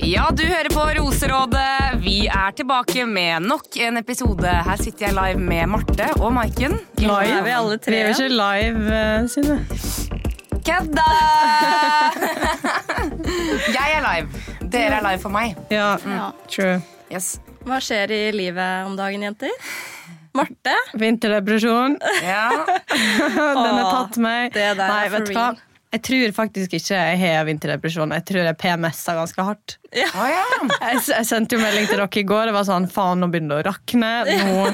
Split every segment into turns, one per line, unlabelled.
Ja, du hører på Roserådet. Vi er tilbake med nok en episode. Her sitter jeg live med Marte og Maiken.
Live?
er vi alle tre.
Vi er jo ikke live, eh, Synne.
Kødda! jeg er live. Dere er live for meg.
Ja,
Ja.
true.
Yes.
Hva skjer i livet om dagen, jenter? Marte?
Vinterdepresjon.
Ja.
Den har
Åh,
tatt meg.
det der er
Nei,
for
vet du hva?
real.
Jeg tror faktisk ikke jeg har vinterdepresjon. Jeg tror jeg PMS-a ganske hardt.
Å ja.
Jeg, s- jeg sendte jo melding til dere i går. Det var sånn, faen, nå begynner det å rakne. Nå,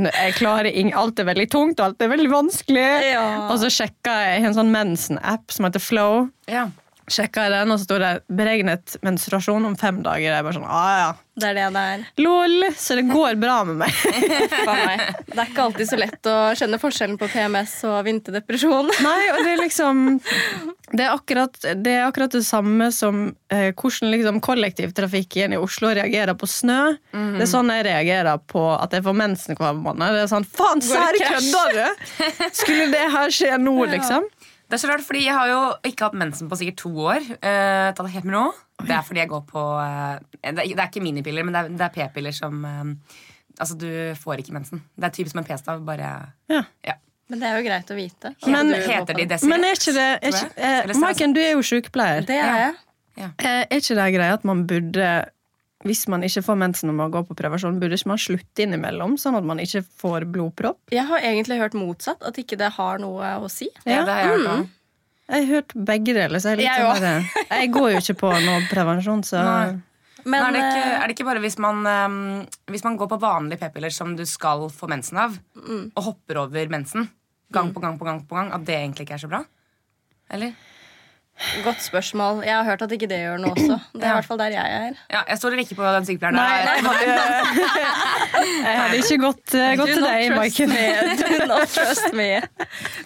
nå, jeg klarer ing Alt er veldig tungt, og alt er veldig vanskelig.
Ja.
Og så sjekka jeg en sånn mensen-app som heter Flow.
ja.
Sjekka jeg den, og så sto det 'beregnet menstruasjon om fem dager'. Jeg bare sånn, ah, ja.
Det er det det er.
Lol, så det går bra med meg.
Faen meg. Det er ikke alltid så lett å skjønne forskjellen på PMS og vinterdepresjon.
Nei, og det er liksom Det er akkurat det, er akkurat det samme som eh, hvordan liksom kollektivtrafikken i Oslo reagerer på snø. Det er sånn jeg reagerer på at jeg får mensen hver måned. Det er sånn, Faen,
Går
serr,
det krasj?
kødder du?! Skulle det her skje nå, liksom?
Det er så rart, fordi jeg har jo ikke hatt mensen på sikkert to år. Eh, ta det helt med ro. Det er fordi jeg går på eh, det, er, det er ikke minipiller, men det er, det er p-piller som eh, Altså, du får ikke mensen. Det er typisk som en p-stav, bare
Ja.
ja.
Men det er jo greit å vite. at
Men-
du går
Heter de
på den.
desirett?
Men er ikke det er ikke,
tror jeg? Eller
eh, Maiken, du er jo sykepleier.
Det er jeg.
Eh, er ikke det greia at man burde hvis man ikke får mensen når man går på prevensjon, burde ikke man slutte innimellom, sånn at man ikke får blodpropp?
Jeg har egentlig hørt motsatt, at ikke det har noe å si.
Ja, det har jeg hørt om.
Jeg har hørt begge deler. så Jeg, er litt
Jeg
sånn der- jeg går jo ikke på noe prevensjon, så
Nei.
Men
Men er det, ikke,
eh,
er det ikke bare hvis man, ehm, hvis man går på vanlige p-piller som du skal få mensen av, og hopper over mensen gang på gang på gang, på gang at det egentlig ikke er så bra? Eller?
eh, godt spørsmål. Jeg har hørt at ikke det gjør noe også. Det er i hvert fall der jeg er.
Ja, jeg stoler ikke på den sykepleieren.
Nei,
der.
jeg hadde, jeg hadde ikke gått, eh, gått til
not
deg,
trust
Maiken.
me. Do not trust me.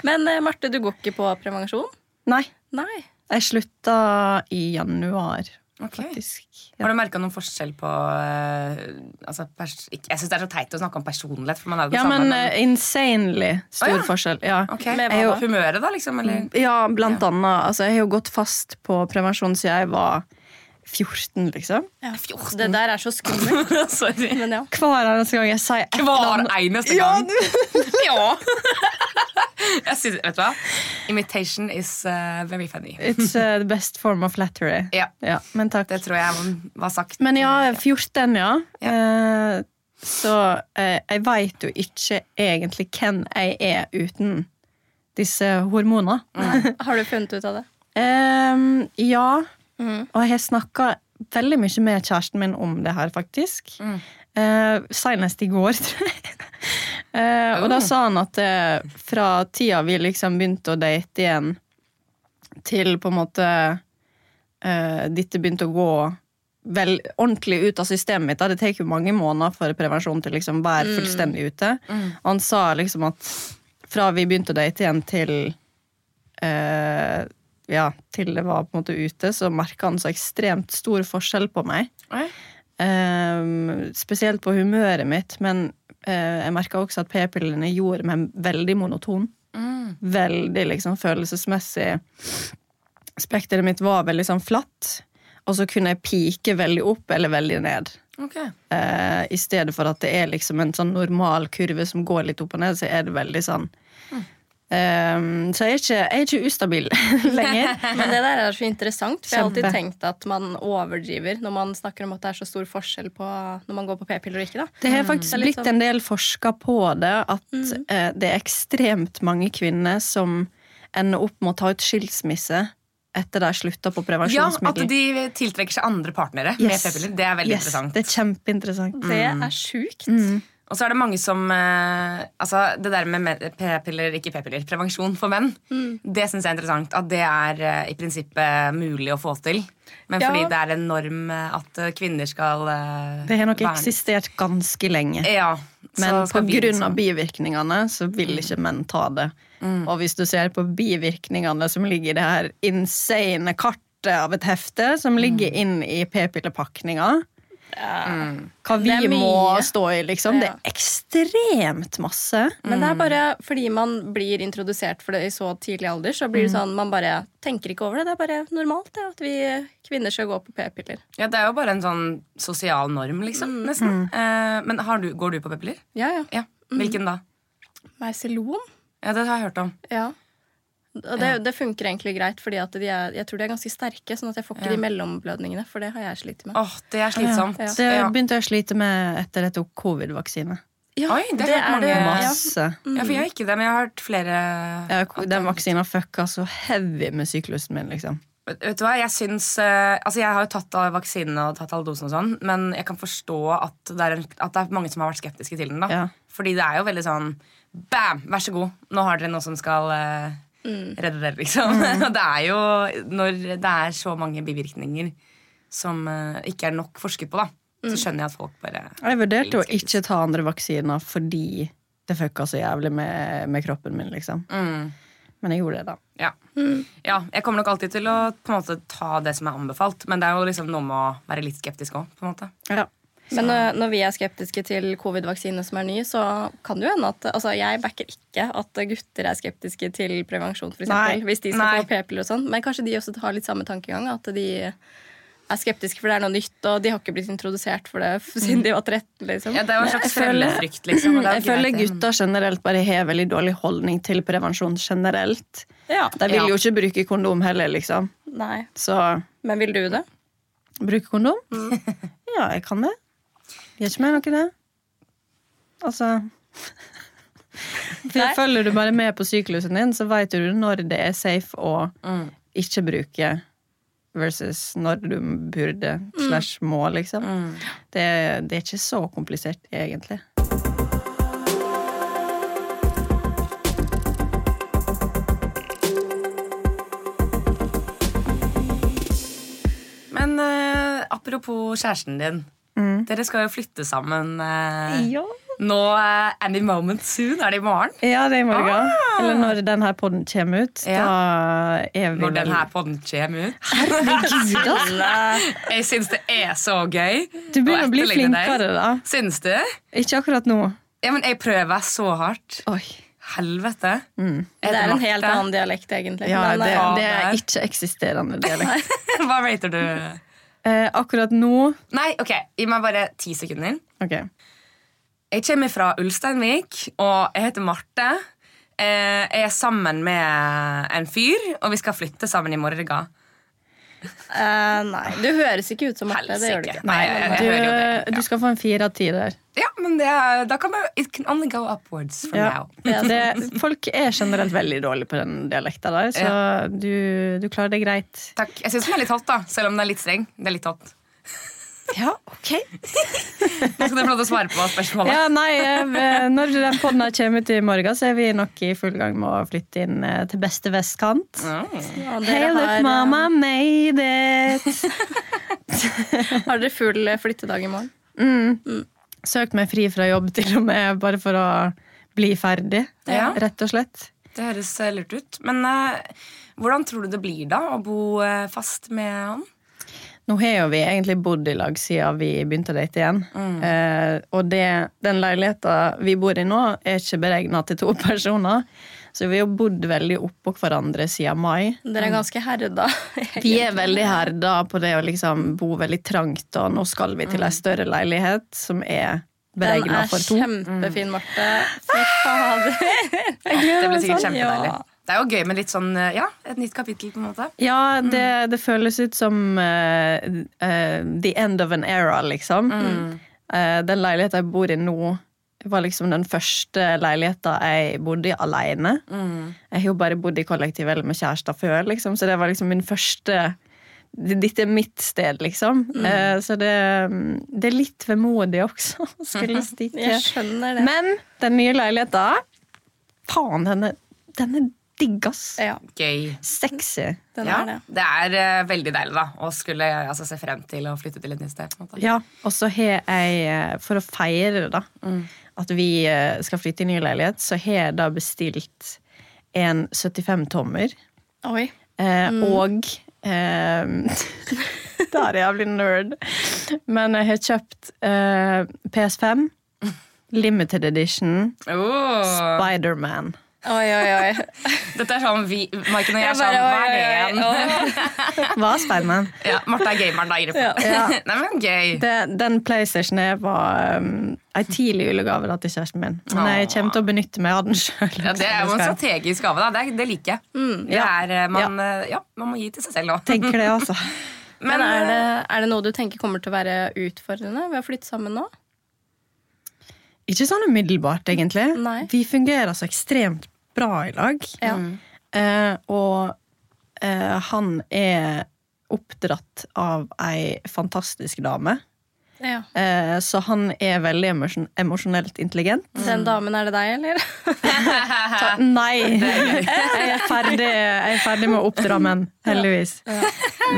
Men eh, Marte, du går ikke på prevensjon?
Nei,
Nei.
jeg slutta i januar,
Ok.
faktisk. Ja.
Har du merka noen forskjell på eh, altså, pers ikke, Jeg syns det er så teit å snakke om personlighet. For man er jo det
Ja,
samme
men eh, insanely stor
Å, ja.
forskjell. Ja.
Ok,
Med
Er jo
hva da?
humøret, da, liksom? Eller?
ja, blant annet. Altså, jeg har jo gått fast på prevensjon siden jeg var 14, liksom.
Det der er så skummelt.
Sorry.
Men ja.
Hver eneste gang jeg sier et eller
Hver
annet-
eneste gang. Ja! jeg synes, vet du hva? Imitation is eh, very funny.
It's eh, the best form of flattery.
Ja.
Ja, men takk.
Det tror jeg var sagt.
Men ja, 14, ja. Eh, så eh, jeg veit jo ikke egentlig hvem jeg er uten disse hormonene.
Har du funnet ut av det?
Eh, ja, og jeg har snakka veldig mye med kjæresten min om det her, faktisk. Eh, Senest i går, tror jeg. Eh, og da sa han at eh, fra tida vi liksom begynte å date igjen, til på en måte eh, dette begynte å gå vel, ordentlig ut av systemet mitt. da. Det tar jo mange måneder for prevensjon til liksom å være fullstendig ute. Og han sa liksom at fra vi begynte å date igjen til eh, ja, til det var på en måte ute, så merka han så ekstremt stor forskjell på meg.
Oi.
Eh, spesielt på humøret mitt, men eh, jeg merka også at p-pillene gjorde meg veldig monoton.
Mm,
Veldig liksom følelsesmessig. Spekteret mitt var veldig sånn flatt, og så kunne jeg pike veldig opp eller veldig ned.
Ok.
Eh, I stedet for at det er liksom en sånn normal kurve som går litt opp og ned, så er det veldig sånn
Mm.
Eh, Så jeg er ikke, jeg er ikke ustabil lenger.
Men det der er så interessant, for jeg har alltid
Kjempe.
tenkt at man overdriver når man snakker om at det er så stor forskjell på når man går på p-piller og ikke. da.
Det
Mm,
har faktisk
Det er litt sånn,
blitt en del forska på det, at eh, det er ekstremt mange kvinner som ender opp med å ta ut skilsmisse etter de har slutta på
Ja, at
prevensjonsmidler.
de tiltrekker seg andre partnere med
Yes.
p-piller. Det er veldig
yes,
interessant.
Det er kjempeinteressant.
Det
Mm.
er sjukt.
Mm.
Og så er det mange som eh, Altså, det der med men- p-piller, ikke p-piller, prevensjon for menn, det syns jeg er interessant. At det er eh, i prinsippet mulig å få til. Men
Ja.
fordi det er en norm eh, at eh, kvinner skal eh,
Det har nok
verne-
eksistert ganske lenge.
Ja.
Men
så
på
skal vi
grunn
liksom-
av bivirkningene så
Mm.
vil ikke menn ta det. Og hvis du ser på bivirkningene som ligger i det her
Mm.
insane kartet av et hefte, som ligger inn i p-pillepakninga, Mm. Hva vi
Det er mye.
må stå i, liksom. Det
Ja.
er ekstremt masse.
Men
Mm.
det er bare fordi man blir introdusert for det i så tidlig alder, så
Mm.
blir det sånn, man bare tenker ikke over det. Det er bare normalt det, at vi kvinner skal gå på p-piller.
Ja, Det er jo bare en sånn sosial norm, liksom. Nesten. Eh, men har du, går du på p-piller?
Ja, ja.
Ja. Hvilken da?
Mercelon.
Ja, Det har jeg hørt om.
Ja. Og det, det funker egentlig greit, fordi at de er, jeg tror de er ganske sterke. Sånn at jeg får ikke de mellomblødningene, for det har jeg slitt med.
Åh, Det er slitsomt.
Ja.
Det begynte jeg å slite med etter jeg tok covid-vaksine.
Ja,
Oi, det har hørt mange om.
ja.
Masse.
Ja, for jeg har ikke det, men jeg har hørt flere
Jeg- Den vaksina fucka så heavy med syklusen min, liksom.
Vet vet du hva, Jeg syns eh, Altså, jeg har jo tatt av vaksinen og tatt alle dosene og sånn, men jeg kan forstå at det, er en, at det er mange som har vært skeptiske til den. da
Ja.
Fordi det er jo veldig sånn Bam! Vær så god, nå har dere noe som skal eh,
Mm.
redde dere, liksom. Og det er jo Når det er så mange bivirkninger som eh, ikke er nok forsket på, da,
Mm.
så skjønner jeg at folk bare
Jeg vurderte å ikke ta andre vaksiner fordi det fucka så jævlig med, med kroppen min, liksom.
Mm.
Men jeg gjorde det, da.
Ja.
Mm.
ja. Jeg kommer nok alltid til å på en måte ta det som er anbefalt, men det er jo liksom noe med å være litt skeptisk òg.
Ja.
Men eh, når vi er skeptiske til covid-vaksine som er ny, så kan det jo hende at Altså, jeg backer ikke at gutter er skeptiske til prevensjon, for
Nei.
eksempel. Hvis de skal
Nei.
få p-piller og sånn. Men kanskje de også har litt samme tankegang, at de er skeptiske for det er noe nytt, og de har ikke blitt introdusert for det f- siden de var 13, liksom.
Ja, det er jo en slags
føler-
fremmedfrykt, liksom. og det er jo
Jeg føler
greit, det, men-
gutter generelt bare har veldig dårlig holdning til prevensjon generelt.
Ja.
De vil
Ja.
jo ikke bruke kondom heller, liksom.
Nei.
Så
Men vil du det?
bruke kondom?
Mm.
Ja, jeg kan det. Gjør ikke meg noe, det. Altså
Nei.
Følger du bare med på syklusen din, så veit du når det er safe å
Mm.
ikke bruke versus når du burde
Mm.
slash må, liksom. Det, det er ikke så komplisert, egentlig.
Men eh, apropos kjæresten din.
Mm.
Dere skal jo flytte sammen eh,
Ja.
nå eh, any moment soon. Er det i morgen?
Ja, det er i morgen.
Ah!
Eller når denne podden kommer ut. Da er vi
Når
vel-
den her podden kommer ut.
Herregud, ass!
Jeg syns det er så gøy.
Du begynner å bli
etterligne deg.
flinkere, da.
Syns du?
Ikke akkurat nå.
Ja, men jeg prøver så hardt.
Oi.
Helvete.
Mm. Det er en
Marte?
helt annen dialekt, egentlig.
Ja,
Men,
det,
eh,
det
der.
er ikke-eksisterende dialekt.
Hva rater du?
Eh, akkurat nå
Nei, ok, gi meg bare ti sekunder.
Ok.
Jeg kommer fra Ulsteinvik, og jeg heter Marte. Eh, Jeg er sammen med en fyr, og vi skal flytte sammen i morgen.
eh, nei. Du høres ikke ut som Marte. Det gjør du
Helsike.
ikke.
Nei, jeg, jeg,
Du, eh,
hører jo det.
du skal få en fire av ti der.
Ja, men det er, da kan man It can only go upwards from
Ja.
now.
Det, folk er generelt veldig dårlige på den dialekta der, så du, du klarer det greit.
Takk. Jeg syns den er litt hot, da, selv om den er litt streng. Det er litt hot.
Ja, ok.
Nå skal dere få lov til å svare på spørsmålet.
Ja, nei, eh, Når den podden her kommer ut i morgen, så er vi nok i full gang med å flytte inn eh, til beste vestkant.
Mm.
Ja, dere
Hey,
har,
look,
eh,
mama made it!
Har dere full eh, flyttedag i morgen?
Søkt meg fri fra jobb, til og med, bare for å bli ferdig,
Ja.
rett og slett.
Det høres eh, lurt ut. Men eh, hvordan tror du det blir da å bo eh, fast med han?
Nå har jo vi egentlig bodd i lag siden vi begynte å date igjen.
Mm.
Eh, og det, den leiligheta vi bor i nå, er ikke beregna til to personer. Så vi har jo bodd veldig oppå hverandre siden mai.
Dere er ganske herda.
Vi er veldig herda på det å liksom bo veldig trangt, og nå skal vi til ei større leilighet som er
Mm. Den
beregna
er
for to.
kjempefin, Marte. Fy fader.
Det blir sikkert
sånn,
kjempedeilig.
ja.
Det er jo gøy med litt sånn, eh, ja, et nytt kapittel, på en måte.
Ja,
Mm.
det, det føles ut som eh, eh, the end of an era, liksom.
Mm.
Eh, den leiligheten jeg bor i nå, var liksom den første leiligheten jeg bodde i alene.
Mm.
Jeg har jo bare bodd i kollektiv eller med kjærester før, liksom, så det var liksom min første Dette er mitt sted, liksom.
Mm.
Eh, så det, det er litt vemodig også, å skulle stikke.
Jeg skjønner det.
Men den nye leiligheten Faen, den er, den er digg, ass.
ja,
Gøy.
Sexy.
den
ja,
Sånn er det.
det er eh, veldig deilig da å skulle eh, altså, se frem til å flytte til et nytt sted. På en måte.
Ja, og så har jeg, eh, for å feire det da,
Mm.
at vi eh, skal flytte i ny leilighet, så har jeg da bestilt en 75-tommer,
Oi.
Mm.
eh, og eh, Der er jeg blitt nerd. Men jeg har kjøpt eh, PS5, limited edition,
Oh.
Spiderman.
Oi, oi, oi.
Dette er sånn vi, Maiken og jeg er
Jeg
sånn
bare,
Hva
oi,
er det
oi,
igjen?
oi, oi.
Hva er Spiderman?
Ja, Martha er gameren, da. Irpe.
Ja.
Nei, men gøy.
Det, den PlayStation jeg var um, ei tidlig julegave da til kjæresten min. Men jeg kommer til å benytte meg av den sjøl.
Ja, det er jo en strategisk gave, da. Det, er- det liker jeg. Det
Mm, ja.
er, eh, man, eh, ja, man må gi til seg selv nå.
Tenker det, altså.
Men,
Men er det, er det noe du tenker kommer til å være utfordrende ved å flytte sammen nå?
Ikke sånn umiddelbart, egentlig.
Nei.
Vi fungerer så ekstremt bra i lag.
Ja.
Eh, og eh, han er oppdratt av ei fantastisk dame.
ja.
Eh, så han er veldig emosjon emosjonelt intelligent.
Den damen, er det deg, eller?
Ta- Nei! Jeg er ferdig, jeg er ferdig med å oppdra menn, heldigvis.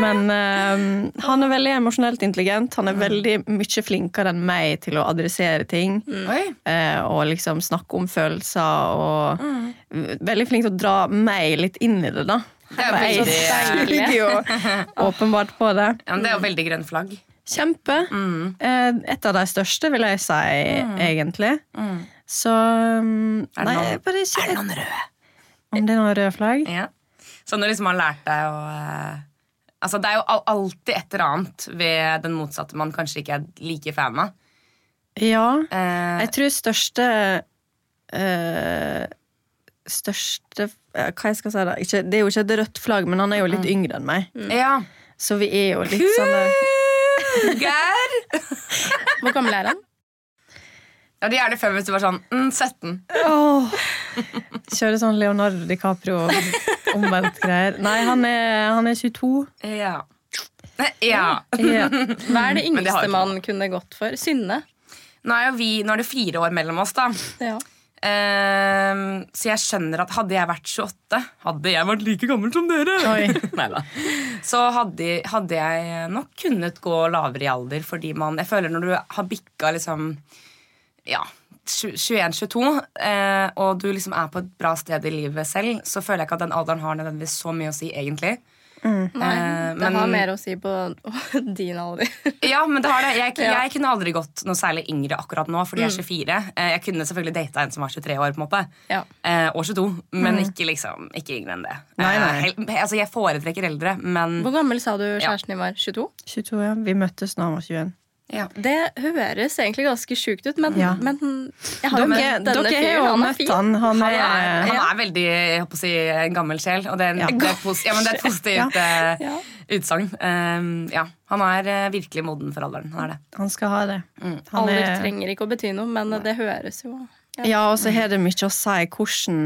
Men eh, han er veldig emosjonelt intelligent. Han er veldig mye flinkere enn meg til å adressere ting.
Mm.
Oi.
eh, Og liksom snakke om følelser og Veldig flink til å dra meg litt inn i det, da.
Mm. Det er
For
veldig-
jeg ligger jo åpenbart på det.
Ja, men det
Mm.
er jo veldig grønn flagg.
Kjempe.
Mm.
Eh, Et av de største, vil jeg si, egentlig. Så mm,
Er det
Nei,
noen-
jeg bare ikke
noen røde?
Om det er noen røde flagg?
Ja. Så når liksom man lært deg å eh, Altså, det er jo al- alltid et eller annet ved den motsatte man kanskje ikke er like fan av.
Ja.
Eh,
Jeg tror største eh, Største eh, Hva jeg skal si, da? Ikke, det er jo ikke et rødt flagg, men han er jo litt
Mm.
yngre enn meg.
ja.
Så vi er jo litt sånn
Geir!
Hvor gammel er han?
Ja, det er det før hvis du var sånn mm, 17.
Åh. Kjøre sånn Leonardo DiCaprio omvendt greier. Nei, han er, han er 22.
Ja. ja.
Ja.
Hva er det
Men det har
yngste
jeg ikke.
man kunne gått for? Synne?
Nå er, jo vi, nå er det fire år mellom oss, da.
Ja.
Ehm, så jeg skjønner at hadde jeg vært 28 Hadde jeg vært like gammel som dere,
Oi.
Neida. så hadde, hadde jeg nok kunnet gå lavere i alder. Fordi man, jeg føler når du har bikka liksom, ja, 21-22, eh, og du liksom er på et bra sted i livet selv, så føler jeg ikke at den alderen har nødvendigvis så mye å si, egentlig.
Nei,
Eh,
det
men-
har mer å si på din alder.
Ja, men det har det. Jeg, jeg kunne aldri gått noe særlig yngre akkurat nå, fordi jeg er 24. Eh, Jeg kunne selvfølgelig data en som var 23 år, på en måte.
Ja.
Eh, og 22, men ikke liksom, ikke yngre enn det.
Nei, nei.
Eh, hel- altså, jeg foretrekker eldre, men
Hvor gammel sa du kjæresten din var? 22?
22, ja. Vi møttes da han var 21.
ja.
Det høres egentlig ganske sjukt ut, men,
Ja.
men jeg har jo
Dere,
møtt denne
dere har jo
fyren. Han er
møtt
fin.
han. Han er,
Han er, han
ja.
er veldig jeg håper å si, en gammel sjel, og det er, en,
Ja.
det er, pos, ja, men det er et
Ja.
positivt eh,
Ja.
utsagn. Eh, ja. Han er eh, virkelig moden for alderen. Han er det.
Han skal ha det.
Mm.
Han
Alder
er,
trenger ikke å bety noe, men det høres jo ja.
ja, og så har det mye å si hvordan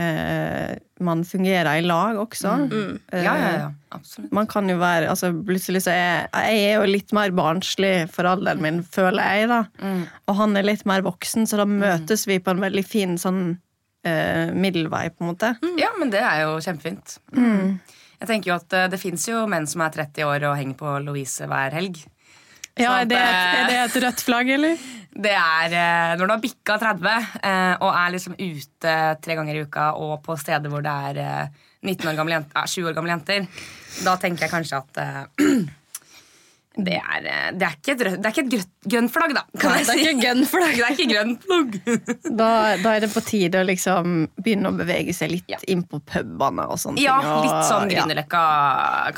eh, man fungerer i lag også.
Mm.
Eh,
Ja, ja, ja, absolutt.
Man kan jo være altså Plutselig så er jeg er jo litt mer barnslig for alderen min, føler jeg, da. Og han er litt mer voksen, så da møtes vi på en veldig fin sånn eh, middelvei, på en måte.
Ja, men det er jo kjempefint. Jeg tenker jo at eh, Det fins jo menn som er 30 år og henger på Louise hver helg.
Ja,
Så
er det, et,
at,
er det et rødt flagg, eller?
Det er eh, Når du har bikka 30 eh, og er liksom ute tre ganger i uka og på steder hvor det er eh, 19 år gamle jenter, eh, 20 år gamle jenter, da tenker jeg kanskje at eh, det er, eh, det er ikke et, rød- det er ikke et grønt, grønt flagg, da. Kan jeg
Det er
si.
ikke gun for
Det
deg.
er ikke grønt flagg.
Da, da er det på tide å liksom begynne å bevege seg litt inn på pubene og sånne
Ja,
ting. og-
litt sånn
ja.
Grünerløkka,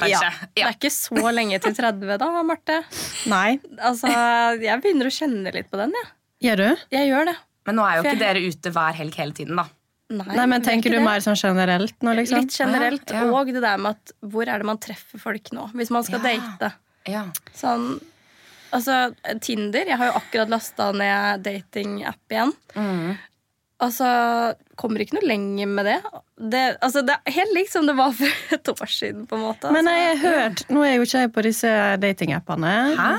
kanskje.
Det
Ja.
er ikke så lenge til 30 da, Marte.
Nei.
Altså, jeg begynner å kjenne litt på den, jeg.
Gjør du?
Ja. Jeg gjør det.
Men nå er jo ikke dere ute hver helg hele tiden, da.
Nei, men
det er
Tenker
ikke
du
det.
mer sånn generelt nå, liksom?
Litt generelt.
Ja, ja.
Og det der med at hvor er det man treffer folk nå, hvis man skal date.
Ja.
Sånn, altså, Tinder Jeg har jo akkurat lasta ned datingapp igjen.
Mm.
Altså, kommer ikke noe lenger med det. Det, altså, det er helt likt som det var for et år siden. på en måte
Men
altså.
jeg har hørt Nå er jo ikke jeg på disse datingappene.
Hæ?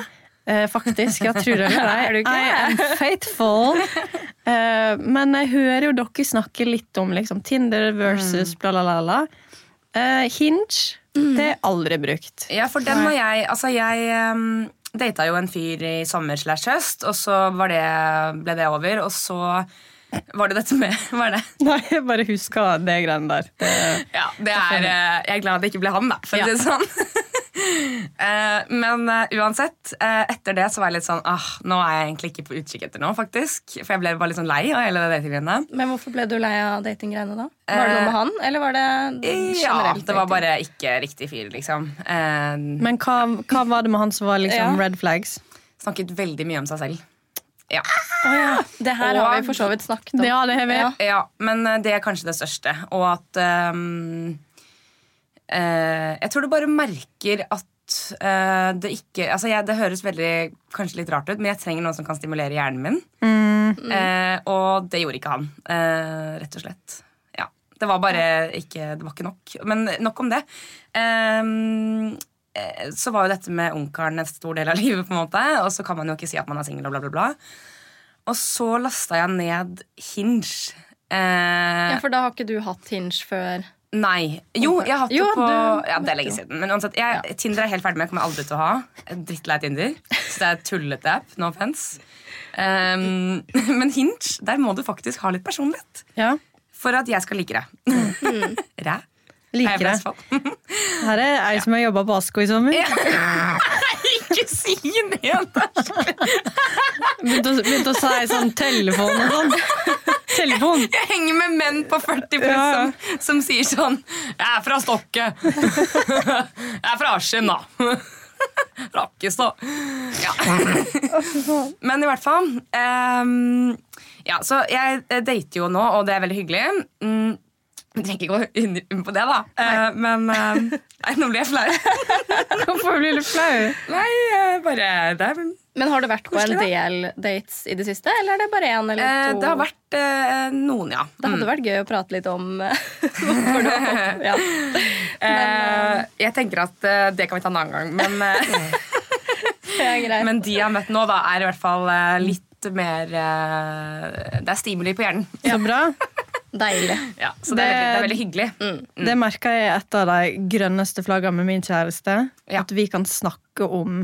Eh, faktisk. Jeg tror det eller ei.
Er du ikke?
I am faithful. Eh, men jeg hører jo dere snakke litt om liksom, Tinder versus bla, bla, bla. bla. Eh, Hinge, det er aldri brukt.
Ja, for den har jeg Altså, jeg um, data jo en fyr i sommer slash høst, og så var det, ble det over, og så var det dette med Hva er det?
Nei, jeg bare husker det greiene der. Det,
Ja, det er, eh, jeg er glad det ikke ble han, da, for å si det sånn. Eh, men eh, uansett, eh, etter det så var jeg litt sånn ah, Nå er jeg egentlig ikke på utkikk etter noe, faktisk. For jeg ble bare litt sånn lei av hele det datinggreiene.
Altså, Men hvorfor ble du lei av datinggreiene da? Var det noe med han, eller var det
Eh,
generelt?
Ja, det var
dating?
bare ikke riktig fyr, liksom. Eh,
Men hva, hva var det med han som var liksom
Ja.
red flags?
snakket veldig mye om seg selv. Ja.
Å ja. Det her har
Og-
vi for så vidt snakket om.
Ja, det har vi.
Ja.
ja, men eh, det er kanskje det største. Og at ehm, eh, Jeg tror du bare merker at eh, det ikke Altså, jeg, det høres veldig kanskje litt rart ut, men jeg trenger noen som kan stimulere hjernen min. Eh, og det gjorde ikke han, eh, rett og slett. Ja. Det var bare ikke Det var ikke nok. Men nok om det. Ehm, eh, så var jo dette med ungkaren en stor del av livet, på en måte. Og så kan man jo ikke si at man er singel og bla, bla, bla. Og så lasta jeg ned Hinge. Eh,
Ja, For da har ikke du hatt hinge før?
Nei. Jo, jeg har hatt
Jo,
det på
du-
Ja, Det er lenge siden. Men uansett, jeg, Tinder er helt ferdig med. Jeg kommer aldri til å ha. Jeg er Drittlei Tinder. Så det er tullete app. No offense. Um, men Hinge, der må du faktisk ha litt personlighet
Ja,
for at jeg skal like deg. Ræ? Er jeg fra
liker det.
Østfold?
Her er ei som har jobba på Asko i sommer.
Ikke si det! Anders.
Begynte å, begynte å si sånn telefon og sånn. Telefon!
Jeg henger med menn på 40 pluss
Ja.
som, som sier sånn Jeg er fra Stokke. Jeg er fra Askim, da. Rakkestad. Ja. Men i hvert fall ehm, Ja, så jeg eh, dater jo nå, og det er veldig hyggelig. Mm, vi trenger ikke gå inn inn på det, da. Eh, men ehm, Nei, nå blir jeg flau.
Hvorfor blir du flau?
Nei, jeg bare det, er,
Men har du vært på en
Koselig,
del dates i det siste, eller er det bare én eller
eh,
to?
det har vært eh, noen, ja.
Det hadde vært gøy å prate litt om eh, hvorfor du har fått ja.
Eh, jeg tenker at eh, det kan vi ta en annen gang, men eh,
Det er greit.
Men de jeg har møtt nå, da, er i hvert fall eh, litt mer eh, Det er stimuli på hjernen.
Så bra.
Deilig.
Ja, så det, er veldig, det er veldig hyggelig.
Det merka jeg er et av de grønneste flagga med min kjæreste.
Ja.
At vi kan snakke om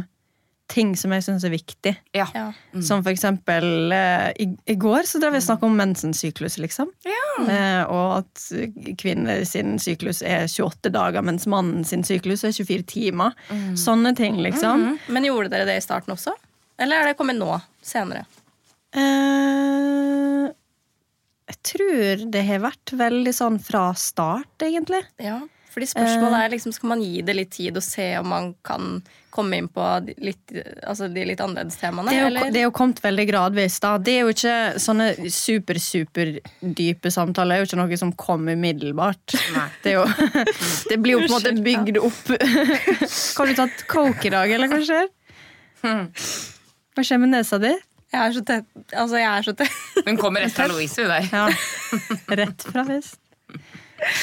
ting som jeg syns er viktig.
Ja.
Ja.
Som for eksempel eh, i, I går så drev vi og snakka om mensensyklus, liksom. Eh, og at kvinner sin syklus er 28 dager, mens mannen sin syklus er 24 timer. Sånne ting, liksom.
Mm. Men gjorde dere det i starten også? Eller er det kommet nå? Senere?
Mm. eh, jeg tror det har vært veldig sånn fra start, egentlig.
Ja. Fordi spørsmålet er liksom, Skal man gi det litt tid og se om man kan komme inn på de litt, altså de litt annerledes temaene?
Det er, jo,
eller?
det er jo kommet veldig gradvis. da. Det er jo ikke sånne super-super-dype samtaler. Det er jo ikke noe som kommer umiddelbart. Det, er jo, det blir jo på en måte bygd opp Har du tatt coke i dag, eller hva skjer? Hva skjer med nesa di?
Jeg er så tett. Altså, jeg er så tett.
Hun kommer rett fra Louise, hun der.
Ja. Rett fra vest.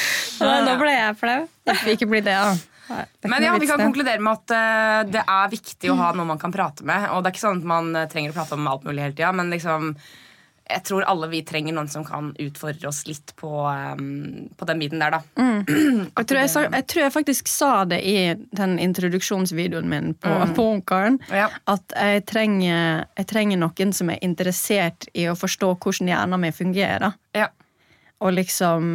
Nå ble jeg flau.
Ikke, ikke bli det, da.
Nei.
Det er ikke
Men
noe
ja, vi
vits
kan
det.
konkludere med at eh, det er viktig å ha noen man kan prate med. Og det er ikke sånn at man eh, trenger å prate om alt mulig hele tida, men liksom jeg tror alle vi trenger noen som kan utfordre oss litt på, eh, på den biten der, da.
Jeg tror jeg, sa, jeg tror jeg faktisk sa det i den introduksjonsvideoen min på, på Ungkaren.
Ja.
At jeg trenger, jeg trenger noen som er interessert i å forstå hvordan hjernen min fungerer.
Ja.
Og liksom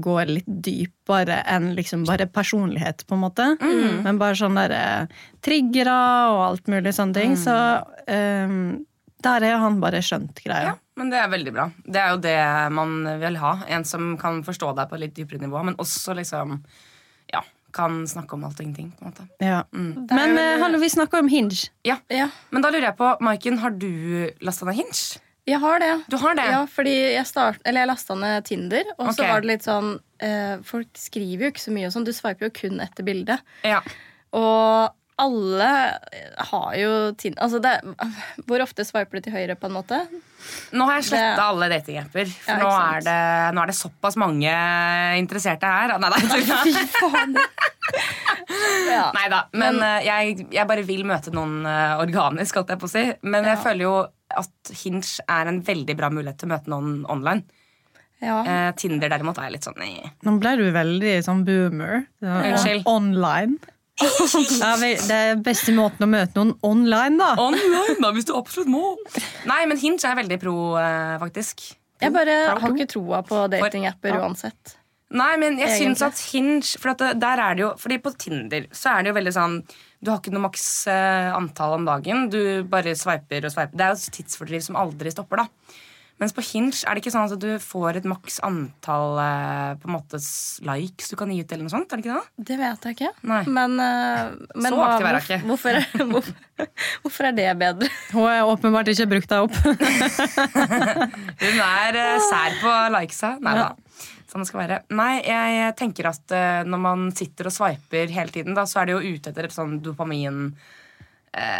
gå litt dypere enn liksom bare personlighet, på en måte. Men bare sånne der, eh, triggere og alt mulig sånne ting. Så ehm, der har han bare skjønt greia.
Ja, men det er veldig bra. Det er jo det man vil ha. En som kan forstå deg på et litt dypere nivå, men også liksom ja, kan snakke om alt og ingenting. på en måte.
Ja. Men
Det er jo-
eh, hallo, vi snakker om Hinge.
Ja,
Ja,
Men da lurer jeg på, Maiken, har du lasta ned Hinge?
jeg har det.
Du har det?
Ja, fordi jeg, start, eller jeg lasta ned Tinder, og så
Ok.
var det litt sånn eh, Folk skriver jo ikke så mye og sånn. Du sveiper jo kun etter bildet.
Ja.
Og alle har jo Tinder altså det, er- Hvor ofte sveiper du til høyre, på en måte?
Nå har jeg
Det-
sletta alle datingapper. For
Ja,
nå,
ikke
er
sant.
det, nå er det såpass mange interesserte her. Nei, nei,
Fy faen. ja.
Nei da, men eh, jeg, jeg bare vil møte noen eh, organisk, holdt jeg på å si. Men jeg
Ja.
føler jo at Hinge er en veldig bra mulighet til å møte noen online.
ja.
Eh, Tinder derimot er litt sånn eh,
Nå ble du veldig sånn boomer. Ja.
Unnskyld.
Online. Ja, vel, det er beste måten å møte noen online, da.
Online, da, hvis du absolutt må. Nei, men Hinge er veldig pro, eh, faktisk.
Jeg bare
Pro, pro.
har ikke troa på datingapper
ja.
uansett.
Nei, men jeg
Egentlig.
syns at Hinge For at det, der er det jo Fordi på Tinder så er det jo veldig sånn Du har ikke noe maks eh, antall om dagen. Du bare sveiper og sveiper. Det er jo et tidsfordriv som aldri stopper, da. Mens på Hinge er det ikke sånn at du får et maks antall eh, på en måte s- likes du kan gi ut, eller noe sånt? er det ikke det?
Det vet jeg ikke.
Nei.
Men, eh, men
Så
hva-
aktiv er jeg ikke.
Hvorfor, er- hvorfor, hvorfor er det bedre?
Hun har åpenbart ikke brukt deg opp.
Hun er eh, sær på likesa. Nei da. Sånn det skal være. Nei, jeg tenker at eh, når man sitter og sveiper hele tiden, da, så er det jo ute etter et sånn dopamin...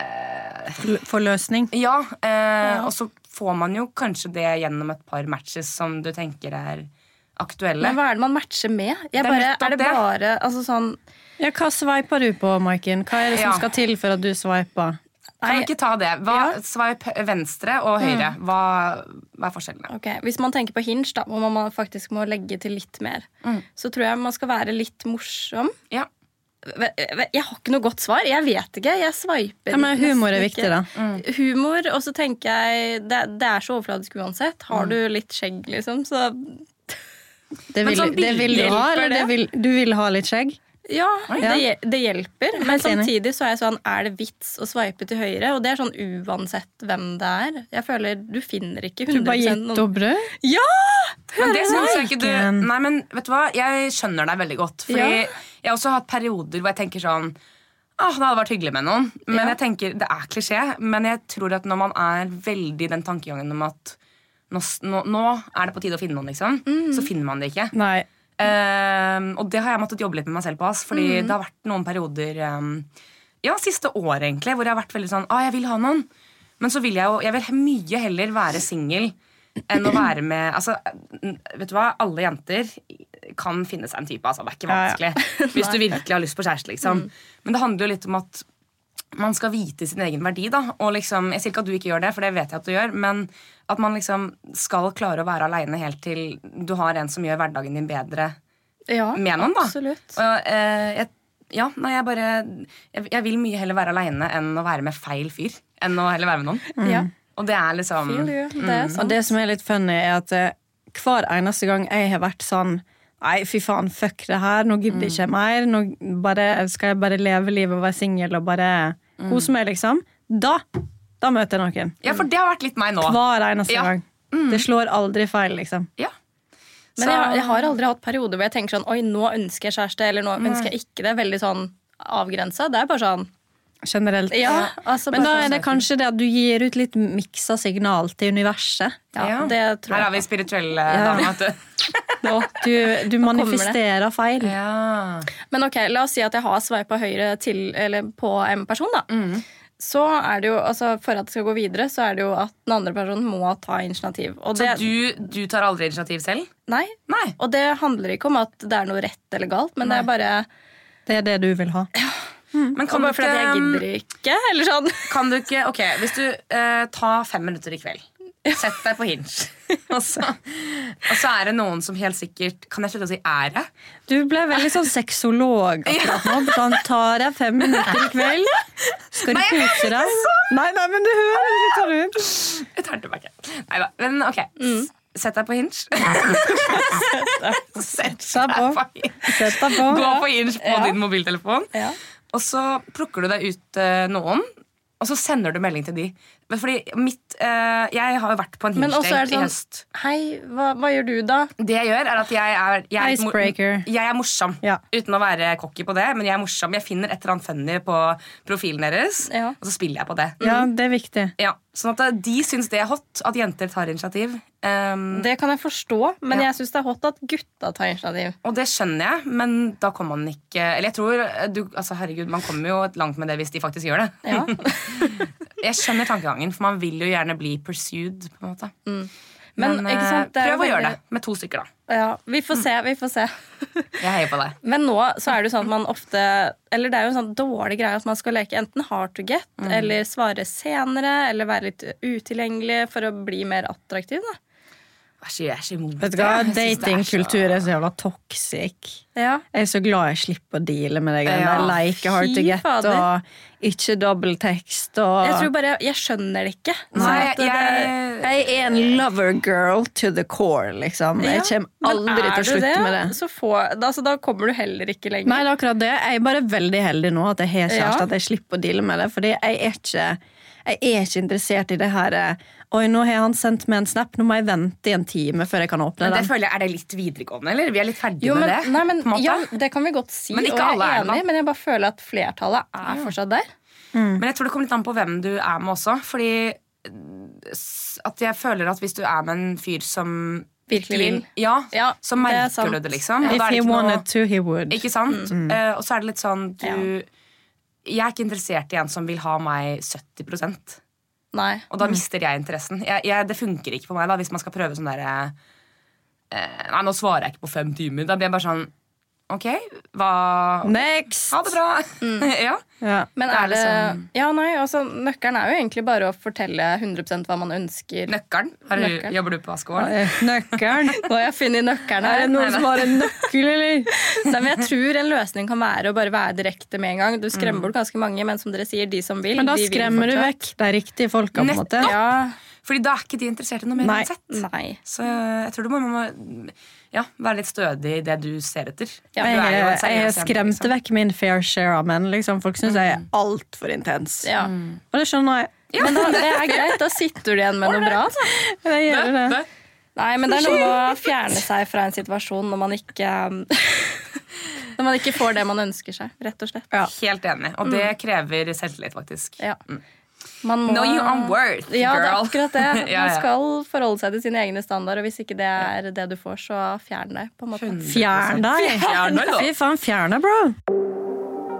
Forløsning.
Ja, eh, og så får man jo kanskje det gjennom et par matches som du tenker er aktuelle.
Men hva er det man matcher med?
Det
Jeg
er
bare,
nettopp
er det
det.
bare altså sånn
Ja, hva sveiper du på, Maiken? Hva er det som
Ja.
skal til for at du sveiper?
kan vi ikke ta det? Hva, Sveip venstre og høyre. Hva, hva er forskjellene?
Ok, Hvis man tenker på hinge, da, hvor man faktisk må legge til litt mer,
Mm.
så tror jeg man skal være litt morsom.
Ja.
Ve- ve- Jeg har ikke noe godt svar. Jeg vet ikke. Jeg sveiper.
Ja, men humor er
nesten
viktig,
ikke.
da. Mm.
Humor, og så tenker jeg Det, det er så overfladisk uansett. Har
Mm.
du litt skjegg, liksom, så
Det
Men
vil,
sånn
det vil du
bilder-
ha, eller
Hjelper
det
det?
vil, du vil ha litt skjegg?
Ja,
Ja.
det, hjel- det hjelper. Men
Helt enig.
samtidig så er jeg sånn, er det vits å sveipe til høyre? Og det er sånn uansett hvem det er. Jeg føler du finner ikke
Du bare
100
gitt
noen
opp brød?
Ja!
Men det synes jeg ikke
Maiken.
du Nei, men vet du hva? Jeg skjønner deg veldig godt. Fordi
Ja.
jeg har også hatt perioder hvor jeg tenker sånn Åh, det hadde vært hyggelig med noen. Men
Ja.
jeg tenker, Det er klisjé, men jeg tror at når man er veldig i den tankegangen om at nå, nå, nå er det på tide å finne noen, liksom,
Mm.
så finner man det ikke.
Nei.
Ehm, og det har jeg måttet jobbe litt med meg selv på. Ass, fordi
Mm.
det har vært noen perioder ehm, Ja, siste året egentlig hvor jeg har vært veldig sånn ah, jeg vil ha noen. Men så vil jeg jo Jeg vil mye heller være singel enn å være med Altså, n- vet du hva? Alle jenter kan finne seg en type. Altså. Det er ikke
Ja, Mm.
vanskelig hvis du virkelig har lyst på kjæreste. Liksom. Men det handler jo litt om at man skal vite sin egen verdi. da Og liksom, Jeg sier ikke at du ikke gjør det, for det vet jeg at du gjør, men at man liksom skal klare å være aleine helt til du har en som gjør hverdagen din bedre
Ja,
med noen. da
absolutt.
Og, eh, jeg, ja, nei, jeg bare jeg, jeg vil mye heller være aleine enn å være med feil fyr. Enn å heller være med noen.
Ja.
Og det er liksom
Mm. Feel you. Det er
Mm. Og
sant.
det som er litt funny, er at eh, hver eneste gang jeg har vært sånn Nei, fy faen, fuck det her, nå gidder jeg ikke mer. Nå bare, skal jeg bare leve livet og være singel og bare kose meg, liksom. Da, da møter jeg noen.
Ja, for det har vært litt meg nå.
Hver eneste
Ja.
gang. Det slår aldri feil, liksom.
Ja.
Men jeg, har- jeg har aldri hatt perioder hvor jeg tenker sånn Oi, nå ønsker jeg kjæreste, eller nå ønsker jeg ikke det. Veldig sånn avgrensa. Det er bare sånn
Generelt.
Ja, altså
Men da
bare
er det kanskje det at du gir ut litt miksa signal til universet.
sånn, ja, det tror
Her har
jeg.
vi spirituelle damer. vet du.
Du, du manifesterer feil.
Ja.
Men ok, la oss si at jeg har sveipa høyre til, eller på en person, da.
Mm.
Så er det jo, altså For at det skal gå videre, så er det jo at den andre personen må ta initiativ. Og
Så
det,
du, du tar aldri initiativ selv?
nei,
Nei.
og det handler ikke om at det er noe rett eller galt, men det er bare
Det er det du vil ha.
Men
og
kan du
Mm. bare fordi at jeg
ikke, um,
gidder ikke. Eller sånn.
kan du ikke Ok, hvis du eh, tar fem minutter i kveld. Sett deg på hinge. og, så, og så er det noen som helt sikkert Kan jeg slutte å si ære?
Du ble veldig sånn sexolog akkurat nå. Sånn, tar jeg fem minutter i kveld? Skal du kose deg? Nei, nei, men du hører ikke tar ut.
Jeg tar det tilbake. Nei da. Men ok. S- Sett deg på hinge. Sett
deg på.
hinge.
Sett deg på.
Gå på hinge på din mobiltelefon.
Ja.
Og så plukker du deg ut eh, noen, og så sender du melding til de. Men Fordi mitt, eh, Jeg har jo vært på en
Men også
hinge-date
er det
i
sånn
høst.
Hei, hva, hva gjør du da?
Det jeg gjør, er at jeg er, jeg er, litt mor-
Icebreaker.
jeg er morsom.
Ja.
Uten å være cocky på det, men jeg er morsom. Jeg finner et eller annet funny på profilen deres,
Ja.
og så spiller jeg på det.
Ja, det er viktig.
Ja, sånn at de syns det er hot at jenter tar initiativ. Um,
Det kan jeg forstå, men
Ja.
jeg syns det er hot at gutta tar initiativ.
og det skjønner jeg, men da kommer man ikke Eller jeg tror du, altså Herregud, man kommer jo et langt med det hvis de faktisk gjør det.
Ja.
Jeg skjønner tankegangen, for man vil jo gjerne bli pursued. på en måte
Mm. Men,
eh,
ikke sant, det er jo
prøv å
veldig-
gjøre det med to stykker, da.
Ja, vi får se, vi får se.
Jeg heier på deg.
Men nå så er det jo sånn at man ofte Eller det er jo en sånn dårlig greie at man skal leke enten hard to get, eller svare senere, eller være litt utilgjengelig for å bli mer attraktiv. da
Jeg er så- jeg er så imot
Vet du
det.
hva?
Jeg synes det er så-
Datingkultur er sånn- så jævla toxic.
Ja.
Jeg er så glad jeg slipper å deale med det greiene.
Ja.
der. Like hard to
Fy
get
fader.
og ikke dobbelttekst og
Jeg tror bare, jeg skjønner det ikke.
Nei,
Sånn at det-
jeg,
Jeg er en lover girl to the core, liksom. Jeg kommer
Men
aldri
er
til å
du
slutte med det.
Så få, da, altså, da kommer du heller ikke lenger.
Nei, det er akkurat det. Jeg er bare veldig heldig nå at jeg har kjæreste,
Ja.
at jeg slipper å deale med det. Fordi jeg er ikke, jeg er ikke interessert i det her eh, Oi, nå har han sendt meg en snap, nå må jeg vente i en time før jeg kan åpne
men det
den.
føler jeg, Er det litt videregående, eller? Vi er litt ferdige
Jo, men,
med det.
nei, men,
på en måte.
ja, det kan vi godt si,
Men ikke
og jeg
alle
er
er det, da.
enig, men jeg bare føler at flertallet er fortsatt der.
Men
Mm.
jeg tror det kommer litt an på hvem du er med også. Fordi eh, s- at jeg føler at hvis du er med en fyr som
Virkelig vil.
Ja,
Ja,
så
det er
merker
sant.
du det, liksom. Og
If
da er
he
det ikke,
wanted
noe,
to, he would.
ikke sant? Eh, og så er det litt sånn du
Mm, Ja.
Jeg er ikke interessert i en som vil ha meg 70
Nei.
Og da mister jeg interessen. Jeg, jeg, det funker ikke for meg da hvis man skal prøve sånn derre eh, Nei, nå svarer jeg ikke på fem timer. Da blir jeg bare sånn Ok, hva
Next!
Ha det bra!
Mm.
ja.
Ja.
Men
Det er
er det,
liksom-
ja, nei, altså, nøkkelen er jo egentlig bare å fortelle 100 hva man ønsker.
Nøkkelen. Har du,
Nøkkelen.
jobber du på Askegården?
Eh, Nøkkelen.
Nå har jeg funnet nøkkelen
Er
her.
det noen som har en nøkkel, eller?
Nei, men jeg tror en løsning kan være å bare være direkte med en gang. Du skremmer bort ganske mange, men som dere sier, de som vil,
Men da
de vil
skremmer du
fortsatt.
vekk de riktige folka, på en måte.
Nettopp.
Ja,
Fordi da er ikke de interessert i noe mer
Nei.
uansett.
nei.
Så jeg tror du må, må ja, være litt stødig i det du ser etter.
Ja,
du
Jeg,
er jo en
jeg,
seriøs jente,
skremte
liksom. Mm.
vekk min fair share av menn. Liksom. Folk syns jeg er altfor intens.
Ja.
Og det skjønner jeg.
Men da, det er greit, da sitter du igjen med noe bra. altså.
Jeg gjør det.
Bø, bø.
Nei, men det er noe med å fjerne seg fra en situasjon når man ikke um, Når man ikke får det man ønsker seg, rett og slett.
Ja.
Helt enig. Og det krever selvtillit, faktisk.
Ja. Man må,
Know your own worth,
Ja, det er
girl.
akkurat det.
Ja,
Man
ja.
skal forholde seg til sine egne standarder, og hvis ikke det er det du får, så fjern det. på en måte.
Skjønner.
Fjern deg!
Fjern deg, da.
Fy faen, fjern deg, bro!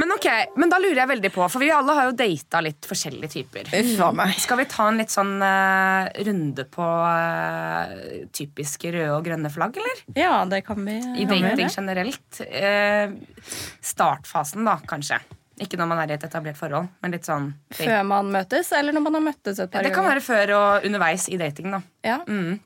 Men ok, men da lurer jeg veldig på, for vi alle har jo data litt forskjellige typer.
Uff a meg.
Skal vi ta en litt sånn eh, runde på eh, typiske røde og grønne flagg, eller?
Ja, det kan vi.
I
vi gjøre
dating
det?
generelt. Eh, startfasen, da, kanskje. Ikke når man er i et etablert forhold, men litt sånn
Før man møtes, eller når man har møttes et par
Det kan være Mm. før og underveis i dating, da.
Ja.
Vi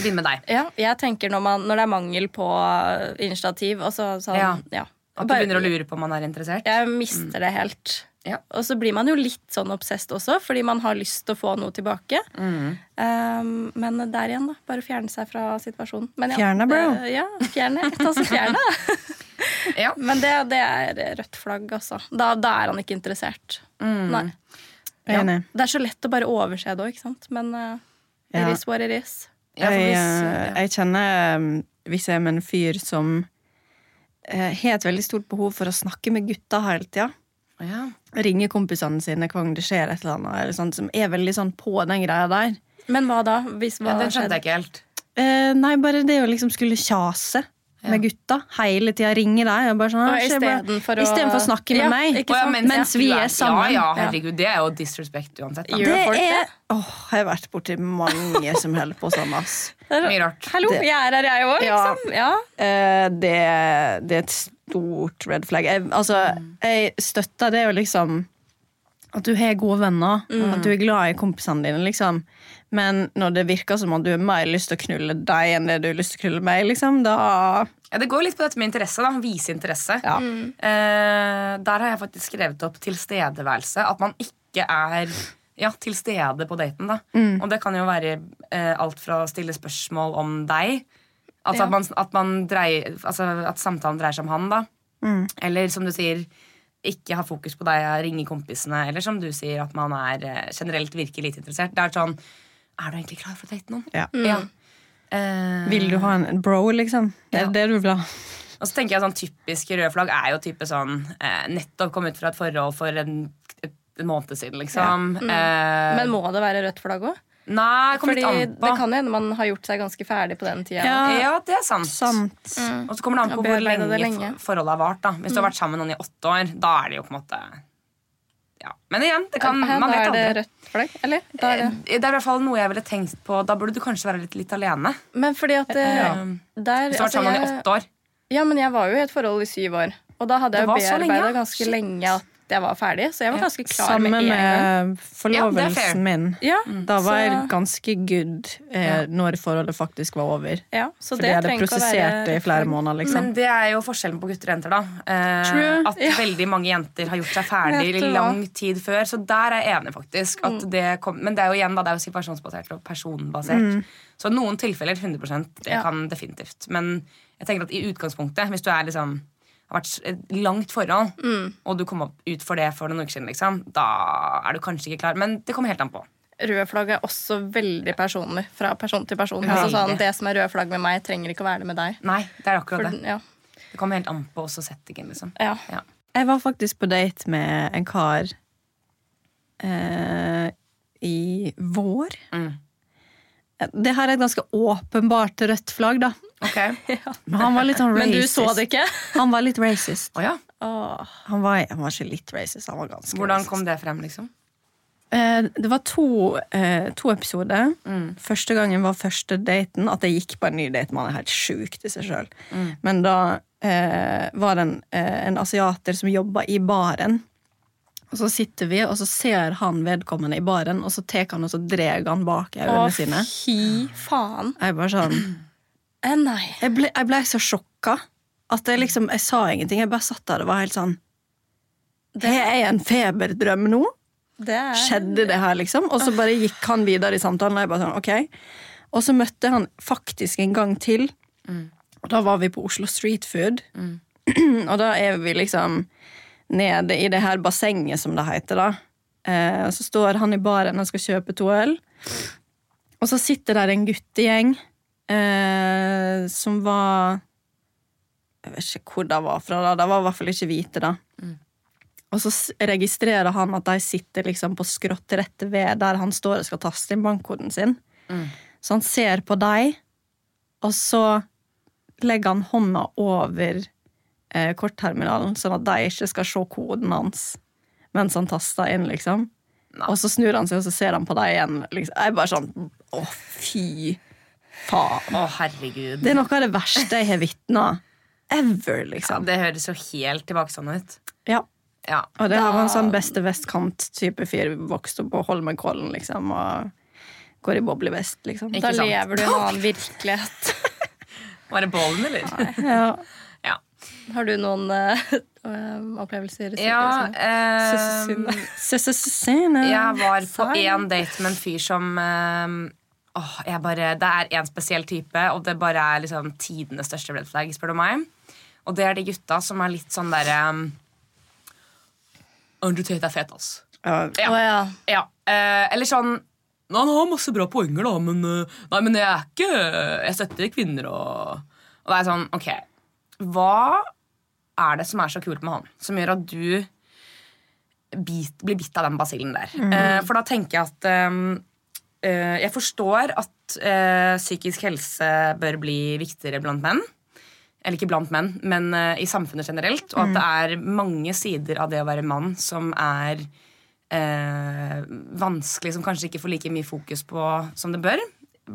begynner med deg.
Ja, jeg tenker når, man, når det er mangel på eh, initiativ og så, sånn, ja.
Ja. At du
Bare-
begynner å lure på om man er interessert.
Jeg mister det helt.
Ja.
Og så blir man jo litt sånn obsessed også, fordi man har lyst til å få noe tilbake.
Mm.
Um, men der igjen, da. Bare fjerne seg fra situasjonen. Men ja,
Fjerne, bro.
eh, Ja, fjerne. Ta så fjerne.
Ja.
men det, det er rødt flagg, altså. Da, da er han ikke interessert. Nei.
Mm. Jeg er Enig.
Det er så lett å bare overse det òg, ikke sant. Men eh, it
Ja.
is what it is.
Ja, for
Jeg,
hvis-
eh, jeg kjenner eh, Hvis jeg er med en fyr som eh, har et veldig stort behov for å snakke med gutta hele tida,
ja.
ringe kompisene sine hver gang det skjer et eller annet, eller sånt, som er veldig sånn på den greia der
Men hva da? Hvis hva
ja Den skjønte
skjedde?
jeg ikke helt.
Eh, nei, bare det å liksom skulle kjase med gutta hele tida. Ringe deg. og bare sånn,
Og
«Æsj, jeg bare-
istedenfor å-
Istedenfor å snakke med
Ja,
meg.
ikke
Å, ja,
sant?
Mens vi
du
er
Ja,
sammen.
ja, herregud, Det er jo disrespect uansett. Da.
Gjør folk
Det er
det?
Åh, Jeg har vært borti mange som holder på sånn, ass.
Mye rart.
Hallo,
Det-
jeg er her, jeg òg,
Ja.
liksom. Ja.
Eh, det, det er et stort red flag. Jeg, altså,
Mm.
jeg støtter det jo liksom At du har gode venner,
Mm.
at du er glad i kompisene dine, liksom. Men når det virker som at du har mer lyst til å knulle deg enn det du har lyst til å knulle meg, liksom, da
Ja, det går litt på dette med interesse. da, Vise interesse.
Ja.
Eh, der har jeg faktisk skrevet opp tilstedeværelse. At man ikke er ja, til stede på daten. da.
Mm.
Og det kan jo være eh, alt fra å stille spørsmål om deg Altså
Ja.
at, man, at, man dreier, altså at samtalen dreier seg om han, da.
Mm.
Eller som du sier, ikke ha fokus på deg, ringe kompisene. Eller som du sier, at man er eh, generelt virker lite interessert. Det er sånn Er du egentlig klar for å date noen?
ja. Mm.
Ja. Eh,
Vil du
Ah.
ha en bro, liksom? Det er
Ja.
det du vil ha.
Og så tenker jeg sånn Typisk røde flagg er jo type sånn eh, nettopp kommet ut fra et forhold for en, et, en måned siden, liksom.
Mm.
Eh,
Men må det være rødt flagg òg?
nei, det kommer
Fordi
litt an
det
på.
kan jo hende man har gjort seg ganske ferdig på den tida.
Ja.
Ja, det er sant. Mm.
Sant.
Og så kommer det an på hvor
Ja,
lenge,
bearbeide det lenge. Mm.
for- forholdet har vart. da Hvis du har vært sammen med noen i åtte år, da er det jo på en måte Ja. Men igjen, det kan,
Her,
man
da
vet
er det
aldri.
rødt flagg, eller? Da er det.
Eh, Det er i hvert fall noe jeg ville tenkt på. Da burde du kanskje være litt, litt alene.
Men fordi at eh,
Ja.
der altså,
Hvis du har vært sammen med noen i
jeg,
åtte år.
Ja, men jeg var jo i et forhold i syv år. Og da hadde
Det
jeg
var så lenge,
bearbeida
ja.
ganske
Shit.
lenge at jeg var ferdig, så jeg var ganske klar
Samme
med en gang.
med
Ja, det er fair.
forlovelsen min.
Ja,
Da var jeg
så,
ganske good eh,
Ja.
når forholdet faktisk var over.
ja, så
Fordi jeg hadde
trenger ikke å
prosessert
være-
det i flere måneder. liksom.
Men det er jo forskjellen på gutter og jenter, da. Eh,
True.
At veldig mange jenter har gjort seg ferdig
Vet du hva? Mm.
lang tid før. Så der er jeg enig, faktisk. At det kom, men det er jo igjen da, det er jo situasjonsbasert og personbasert. Så noen tilfeller 100 det
Mm. Ja.
kan definitivt. Men jeg tenker at i utgangspunktet, hvis du er liksom har vært et langt forhold,
Mm.
og du kom opp ut for det for noen uker siden, liksom, da er du kanskje ikke klar. Men det kommer helt an på.
Røde flagg er også veldig personlig. Fra person til person.
Ja.
Altså sånn, det som er røde flagg med meg, trenger ikke å være det med deg.
Nei, det er akkurat
For,
det.
ja.
Det kommer helt an på også settingen, liksom.
Ja.
Ja.
Jeg var faktisk på date med en kar eh, i vår.
Mm.
Det her er et ganske åpenbart rødt flagg, da.
Ok.
Men han var litt sånn
Men
racist.
du så det ikke?
Han var litt racist.
Å ja.
Åh.
Han var, han var ikke litt racist, han var ganske
Hvordan
racist.
kom det frem, liksom?
Eh, det var to, eh, to episoder. Første gangen var første daten. At jeg gikk på en ny date med han er helt sjukt i seg sjøl. Men da eh, var det en, eh, en asiater som jobba i baren. Og så sitter vi, og så ser han vedkommende i baren, og så tar han og så drar han bak øynene
Å,
sine.
fy faen.
Jeg bare sånn
Eh, nei.
jeg ble, jeg ble så sjokka at jeg liksom Jeg sa ingenting. Jeg bare satt der og var helt sånn Det er en feberdrøm nå.
Det er
skjedde det her, liksom? Og så bare gikk han videre i samtalen. Og jeg bare sånn, ok. Og så møtte han faktisk en gang til. Og da var vi på Oslo Street Food. og da er vi liksom nede i det her bassenget, som det heter, da. Eh, og så står han i baren og skal kjøpe to øl. Og så sitter der en guttegjeng eh, som var Jeg vet ikke hvor de var fra, da. De var i hvert fall ikke hvite, da. Og så s- registrerer han at de sitter liksom på skrått rett ved der han står og skal taste inn bankkoden sin. Så han ser på deg, og så legger han hånda over eh, kortterminalen, sånn at de ikke skal se koden hans mens han taster inn, liksom. Og så snur han seg, og så ser han på deg igjen. Liksom. Jeg er bare sånn Å, fy faen.
Å, herregud.
Det er noe av det verste jeg har vitna ever,
Ja,
liksom.
det høres jo helt tilbakestående ut.
Ja.
Ja.
Og det her var en sånn beste vestkant-type fyr. Vokste opp på Holmenkollen, liksom. Og går i boblevest, liksom.
Ikke
Da
sant.
lever du i en annen virkelighet.
Var det bollen, eller?
Ja.
Ja.
Har du noen eh, eh, opplevelser?
ja eh,
Søsesene.
jeg var på
Sorry.
én date med en fyr som eh, åh, jeg bare, Det er én spesiell type, og det bare er liksom tidenes største red flag, spør du meg. Og det er de gutta som er litt sånn derre Andrew Tate er fet, ass.
Ja.
Ja. Å, ja.
Ja, eh, eller sånn «Nei, Han har masse bra poenger, da, men eh, Nei, men jeg er ikke Jeg støtter kvinner og Og det er sånn, ok Hva er det som er så kult med han Som gjør at du bit, Blir bitt av den basillen der Eh, For da tenker jeg at eh, eh, Jeg forstår at eh, Psykisk helse bør bli viktigere blant menn eller ikke blant menn, men eh, i samfunnet generelt. Og at det er mange sider av det å være mann som er eh, vanskelig, som kanskje ikke får like mye fokus på som det bør.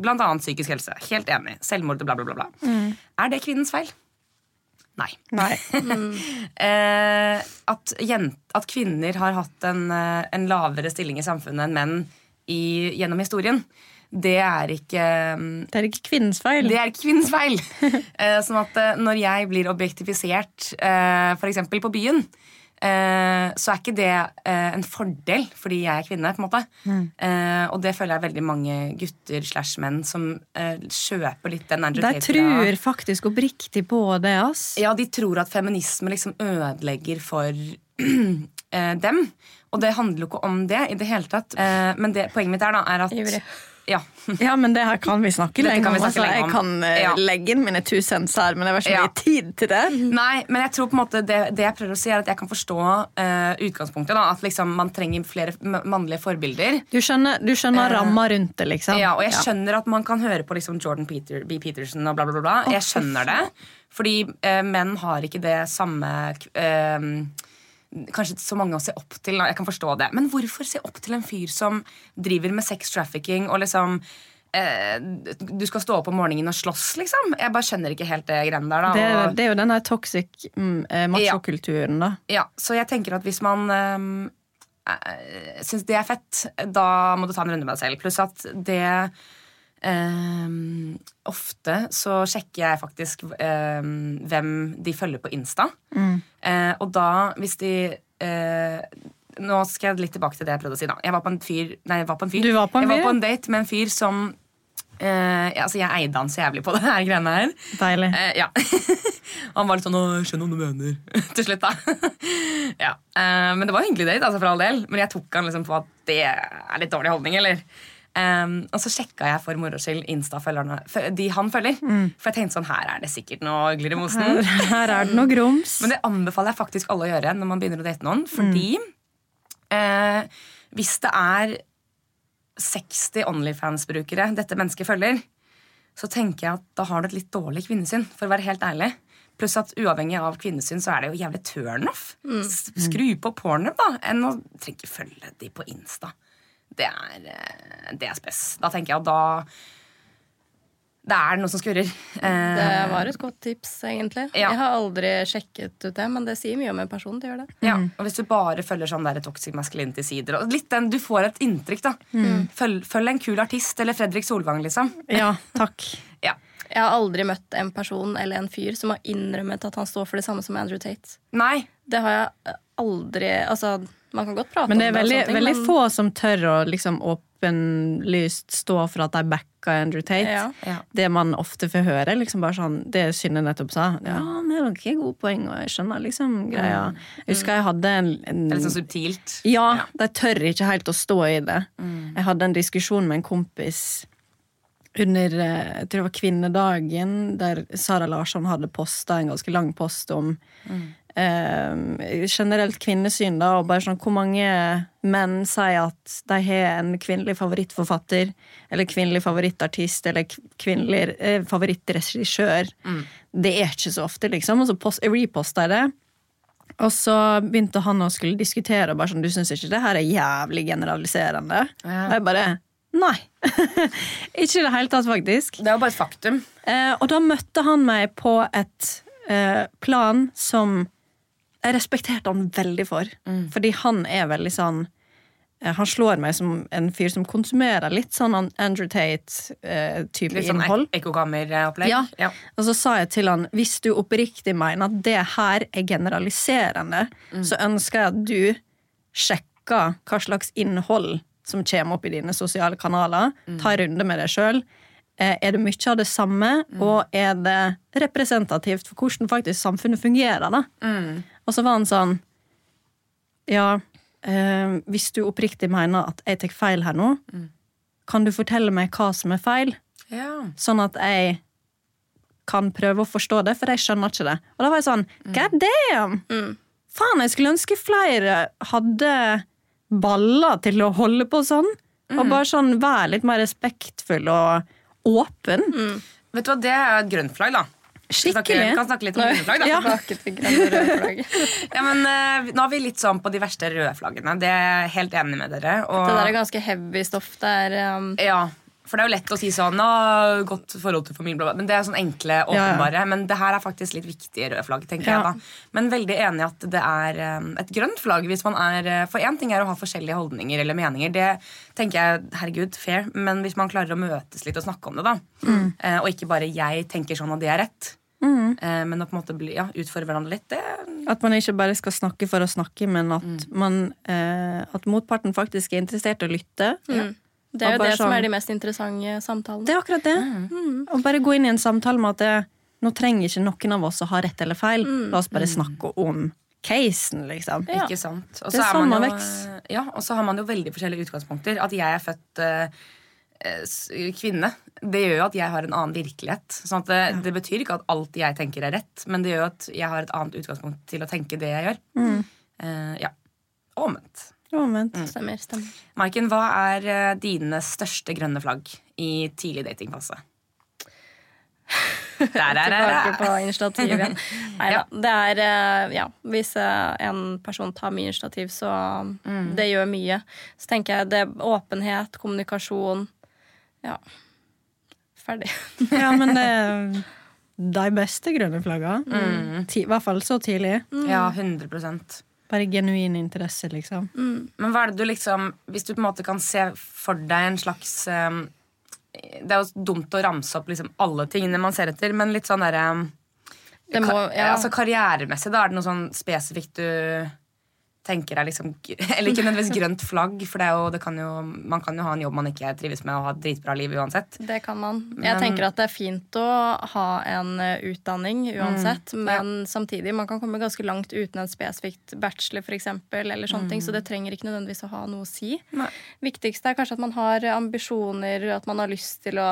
Blant annet psykisk helse. Helt enig. Selvmord og bla, bla, bla. bla. Er det kvinnens feil? Nei.
Nei.
Eh, at, jent, at kvinner har hatt en, eh, en lavere stilling i samfunnet enn menn i, gjennom historien, det er ikke mm,
Det er ikke kvinnens feil.
det er ikke kvinnens feil. Eh, sånn at eh, når jeg blir objektifisert, eh, f.eks. på byen, eh, så er ikke det eh, en fordel fordi jeg er kvinne. på en måte. Eh, og det føler jeg veldig mange gutter slash menn som eh, kjøper litt den Andrew
De
Tate-greia.
tror faktisk oppriktig på det, ass.
Ja, de tror at feminisme liksom ødelegger for eh, dem. Og det handler jo ikke om det i det hele tatt. Eh, men det, poenget mitt er da, er at
Ivrig.
Ja.
Ja, men det her kan vi snakke
Dette
lenge
kan
om.
vi snakke
Altså,
lenge
jeg
om.
kan eh,
Ja.
legge inn mine tusens her, men det var ikke
Ja.
mye tid til det.
Nei, men jeg tror på en måte det, det jeg prøver å si, er at jeg kan forstå eh, utgangspunktet. da, At liksom man trenger flere m- mannlige forbilder.
Du skjønner, du skjønner ramma rundt det, liksom.
Ja, Og jeg skjønner at man kan høre på liksom Jordan Peter, B. Peterson og bla, bla, bla. bla. Jeg skjønner det. Fordi eh, menn har ikke det samme k- eh, Kanskje så mange å se opp til. da, Jeg kan forstå det. Men hvorfor se opp til en fyr som driver med sex trafficking og liksom eh, du skal stå opp om morgenen og slåss, liksom. Jeg bare skjønner ikke helt det greiene der. Da.
Det,
og-
det er jo den der toxic mm, eh, machokulturen, da.
Ja, så jeg tenker at hvis man um, syns det er fett, da må du ta en runde med deg selv. Pluss at det ehm, Ofte så sjekker jeg faktisk ehm, hvem de følger på Insta.
Mm.
Eh, og da, hvis de eh, Nå skal jeg litt tilbake til det jeg prøvde å si. da Jeg var på en fyr Nei, jeg var på en fyr.
Du var på en
jeg
fyr,
var
ja.
på en date med en fyr som eh, ja, altså Jeg eide han så jævlig på det her greiene her.
Deilig.
Eh, ja. Han var litt sånn 'Å, 'Skjønner hva du mener', til slutt, da. ja. eh, men det var en hyggelig date, altså, for all del. Men jeg tok han liksom på at det er litt dårlig holdning, eller? Eh, og så sjekka jeg for moro skyld Insta-følgerne fø- de han følger. For jeg tenkte sånn, her er det sikkert noe ugler i mosen.
Mm. Her er det noe grums.
Men det anbefaler jeg faktisk alle å gjøre når man begynner å date noen. Fordi eh, hvis det er 60 Onlyfans-brukere dette mennesket følger, så tenker jeg at da har du et litt dårlig kvinnesyn, for å være helt ærlig. Pluss at uavhengig av kvinnesyn, så er det jo jævlig turnoff. S- Skru på pornhub, da, enn å trenger ikke følge de på Insta. Det er, eh, det er spes. Da tenker jeg at da Det er noe som skurrer. Eh,
Det var et godt tips, egentlig.
Ja.
Jeg har aldri sjekket ut det, men det sier mye om en person. det gjør det.
Ja, og Hvis du bare følger sånn der toxic masculinity-sider og litt den, Du får et inntrykk, da. Følg, følg en kul artist eller Fredrik Solvang, liksom.
Ja, takk.
Ja.
Jeg har aldri møtt en person eller en fyr som har innrømmet at han står for det samme som Andrew Tate.
Nei.
Det har jeg eh, aldri Altså, man kan godt prate
Men det er
om
veldig,
det, og sånne ting,
veldig
men-
få som tør å liksom åpenlyst stå for at de backa Andrew Tate.
Ja.
Ja.
Det man ofte får høre, liksom bare sånn, det Synne nettopp sa. Ja, men det er nok ikke gode poeng, og jeg skjønner liksom greia. Jeg husker jeg hadde en, en
Det er litt sånn subtilt.
Ja, de tør ikke helt å stå i det. Jeg hadde en diskusjon med en kompis under eh, jeg tror det var kvinnedagen, der Sara Larsson hadde posta en ganske lang post om eh, generelt kvinnesyn, da, og bare sånn hvor mange menn sier at de har en kvinnelig favorittforfatter, eller kvinnelig favorittartist, eller k- kvinnelig eh, favorittregissør. Det er ikke så ofte, liksom. Og så post, reposta jeg det. Og så begynte han å skulle diskutere og bare sånn, du syns ikke det her er jævlig generaliserende.
Ja.
Og jeg bare nei. ikke i det hele tatt, faktisk.
Det er jo bare et faktum.
Eh, og da møtte han meg på et eh, plan som jeg respekterte han veldig for.
Mm.
Fordi han er veldig sånn eh, Han slår meg som en fyr som konsumerer litt sånn an- Andrew Tate-type
Litt sånn
innhold.
ek ekkokammeropplegg.
Ja.
Ja.
Og så sa jeg til han hvis du oppriktig mener at det her er generaliserende, så ønsker jeg at du sjekker hva slags innhold som kommer opp i dine sosiale kanaler. Ta en runde med deg sjøl. Er det mye av det samme, og er det representativt for hvordan faktisk samfunnet fungerer? da? Og så var han sånn Ja, eh, hvis du oppriktig mener at jeg tar feil her nå, kan du fortelle meg hva som er feil?
Ja.
sånn at jeg kan prøve å forstå det, for jeg skjønner ikke det. Og da var jeg sånn, god damn! Faen, jeg skulle ønske flere hadde baller til å holde på sånn. Og bare sånn, være litt mer respektfull og åpen.
Vet du hva, det er et grønt flagg, da. Vi
Skikkelig.
snakker- Vi kan snakke litt om grønne flagg, da.
Ja.
Tilbake til grønne og røde flagg.
Ja, men, eh, nå er vi litt sånn på de verste røde flaggene. Det er jeg helt enig med dere. Og,
Det der er ganske heavy stoff. Det er um,
Mm.
Ja, for det er jo lett å si sånn «Å, Godt forhold til familien, bla, bla», men det er sånn enkle,
ja.
åpenbare. Men det her er faktisk litt viktige røde flagg, tenker
Ja.
jeg da. Men veldig enig i at det er eh, et grønt flagg hvis man er eh, For én ting er å ha forskjellige holdninger eller meninger, det tenker jeg, herregud, fair. Men hvis man klarer å møtes litt og snakke om det, da,
Mm.
eh, og ikke bare 'jeg tenker sånn, og det er rett', eh, men å på en måte bli, ja, utfordre hverandre litt, det
At man ikke bare skal snakke for å snakke, men at, man, eh, at motparten faktisk er interessert i å lytte.
Det er
Og
jo
bare
det som
sånn-
er de mest interessante samtalene.
Det er akkurat det. Å bare gå inn i en samtale med at det, nå trenger ikke noen av oss å ha rett eller feil. La oss bare snakke om casen, liksom.
Ja.
Ikke sant? Og
Det
så
er
er man
samme
jo-
veks.
Ja, og så har man jo veldig forskjellige utgangspunkter. At jeg er født eh, eh, s- kvinne, det gjør jo at jeg har en annen virkelighet. Sånn at det, det betyr ikke at alt jeg tenker er rett, men det gjør jo at jeg har et annet utgangspunkt til å tenke det jeg gjør. Eh, ja. Og Omvendt.
Ja, vent.
Stemmer, stemmer.
Maiken, hva er eh, dine største grønne flagg i tidlig datingfase? Der, der, der,
Tilbake
der.
på initiativ igjen. Nei da. Det er eh, Ja, hvis eh, en person tar mye initiativ, så Det gjør mye. Så tenker jeg det er åpenhet, kommunikasjon Ja. Ferdig.
Ja, men det er de beste grønne flagga. Ti, I hvert fall så tidlig.
Ja, 100
Bare genuin interesse, liksom.
Men hva er det du liksom Hvis du på en måte kan se for deg en slags um, Det er jo dumt å ramse opp liksom alle tingene man ser etter, men litt sånn derre um,
Det må,
ka-
ja.
altså Karrieremessig, da, er det noe sånn spesifikt du tenker er liksom gr- Eller ikke nødvendigvis grønt flagg, for det er jo, det kan jo, man kan jo ha en jobb man ikke trives med, og ha et dritbra liv uansett.
Det kan man. Jeg tenker at det er fint å ha en eh, utdanning uansett, men samtidig, man kan komme ganske langt uten en spesifikt bachelor for eksempel, eller sånne ting, så det trenger ikke nødvendigvis å ha noe å si.
Nei.
Viktigste er kanskje at man har ambisjoner, at man har lyst til å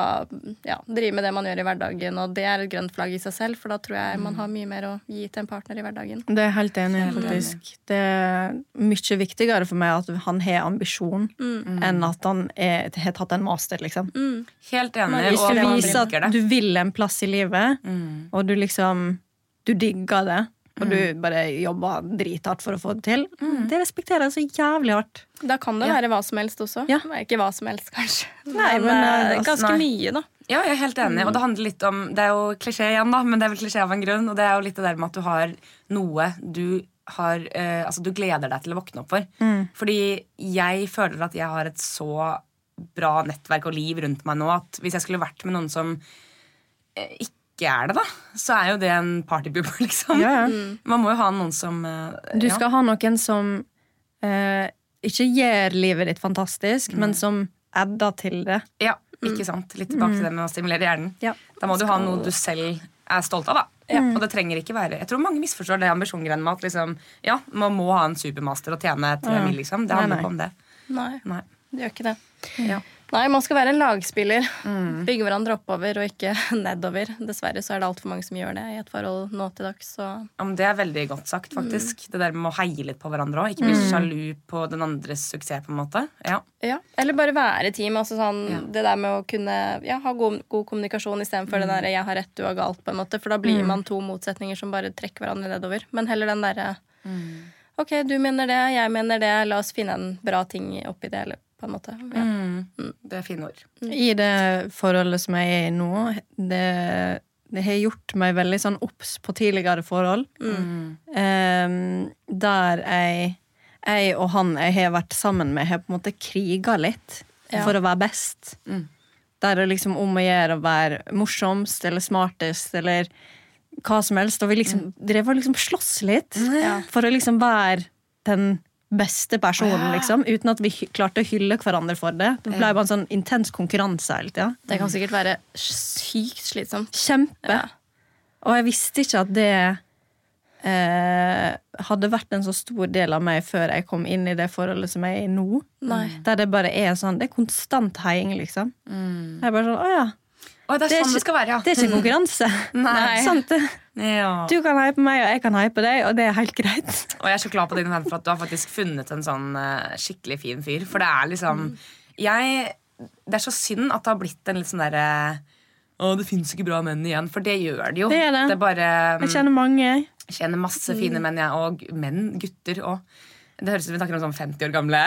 ja, drive med det man gjør i hverdagen, og det er et grønt flagg i seg selv, for da tror jeg man har mye mer å gi til en partner i hverdagen.
Det er jeg helt enig i, faktisk. Det er mye viktigere for meg at han har ambisjon, enn at han er, har tatt en master, liksom.
Helt enig. og
Hvis du
at man
viser
bruker
at
det.
du vil en plass i livet, og du liksom Du digger det, og du bare jobber drithardt for å få det til, det respekterer jeg så jævlig hardt.
Da kan det være hva som helst også.
Ja.
Ikke hva som helst, kanskje.
Nei, men,
eh,
altså,
ganske
nei.
mye, da.
Ja, jeg er helt enig.
Mm.
Og det handler litt om Det er jo klisjé igjen, da, men det er vel klisjé av en grunn. Og det er jo litt det der med at du har noe du har eh, Altså, du gleder deg til å våkne opp for.
Mm.
Fordi jeg føler at jeg har et så bra nettverk og liv rundt meg nå at hvis jeg skulle vært med noen som eh, ikke er det, da, så er jo det en partypooper, liksom.
Ja, ja.
Man må jo ha noen som eh,
Du
ja.
skal ha noen som eh, ikke gjør livet ditt fantastisk, men som adder til det.
Ja, ikke sant? Litt tilbake til det med å stimulere hjernen.
Mm. Ja.
Da må du ha noe du selv er stolt av, da. Og det trenger ikke være Jeg tror mange misforstår det ambisjongreiene med at liksom, ja, man må ha en supermaster og tjene tre mil, liksom. Det
Nei,
handler
nei.
ikke om det.
Nei,
Nei.
det gjør ikke det.
Ja.
Nei, man skal være en lagspiller. Bygge hverandre oppover og ikke nedover. Dessverre så er det altfor mange som gjør det i et forhold nå til dags. Så
Ja, men det er veldig godt sagt,
Mm.
faktisk. Det der med å heie litt på hverandre òg. Ikke bli sjalu på den andres suksess, på en måte. Ja.
ja. Eller bare være team. Altså sånn,
Ja.
Det der med å kunne ja, ha god, god kommunikasjon istedenfor for det der 'jeg har rett, du har galt', på en måte. For da blir man to motsetninger som bare trekker hverandre nedover. Men heller den derre OK, du mener det, jeg mener det, la oss finne en bra ting oppi det, eller på en måte. Ja.
Det er fine ord.
I det forholdet som jeg er i nå, det, det har gjort meg veldig sånn obs på tidligere forhold.
Mm.
Ehm, der jeg, jeg og han jeg har vært sammen med, har på en måte kriga litt
Ja.
for å være best. Der det liksom om å gjøre å være morsomst eller smartest eller hva som helst. Og vi liksom drev og liksom slåss litt for å liksom være den beste personen, liksom. Uten at vi hy- klarte å hylle hverandre for det. Det ble bare en sånn intens konkurranse hele tida.
Det kan sikkert være sykt slitsomt.
Kjempe. Og jeg visste ikke at det eh, hadde vært en så stor del av meg før jeg kom inn i det forholdet som jeg er i nå.
Nei.
Der det bare er sånn Det er konstant heiing, liksom. Jeg er bare sånn, å ja.
Å, det er,
Det er
sånn det skal være, ja.
Det er ikke konkurranse.
Nei.
Sant det?
ja.
Du kan heie på meg, og jeg kan heie på deg, og det er helt greit.
Og jeg er så glad på dine venner for at du har faktisk funnet en sånn eh, skikkelig fin fyr. For det er liksom
Mm.
Jeg Det er så synd at det har blitt en litt sånn derre Å, det fins ikke bra menn igjen. For det gjør det jo.
Det er det. Mm.
er bare mm,
Jeg kjenner mange.
jeg kjenner masse fine menn, jeg. Og menn. Gutter òg. Det høres ut som vi snakker om sånn 50 år gamle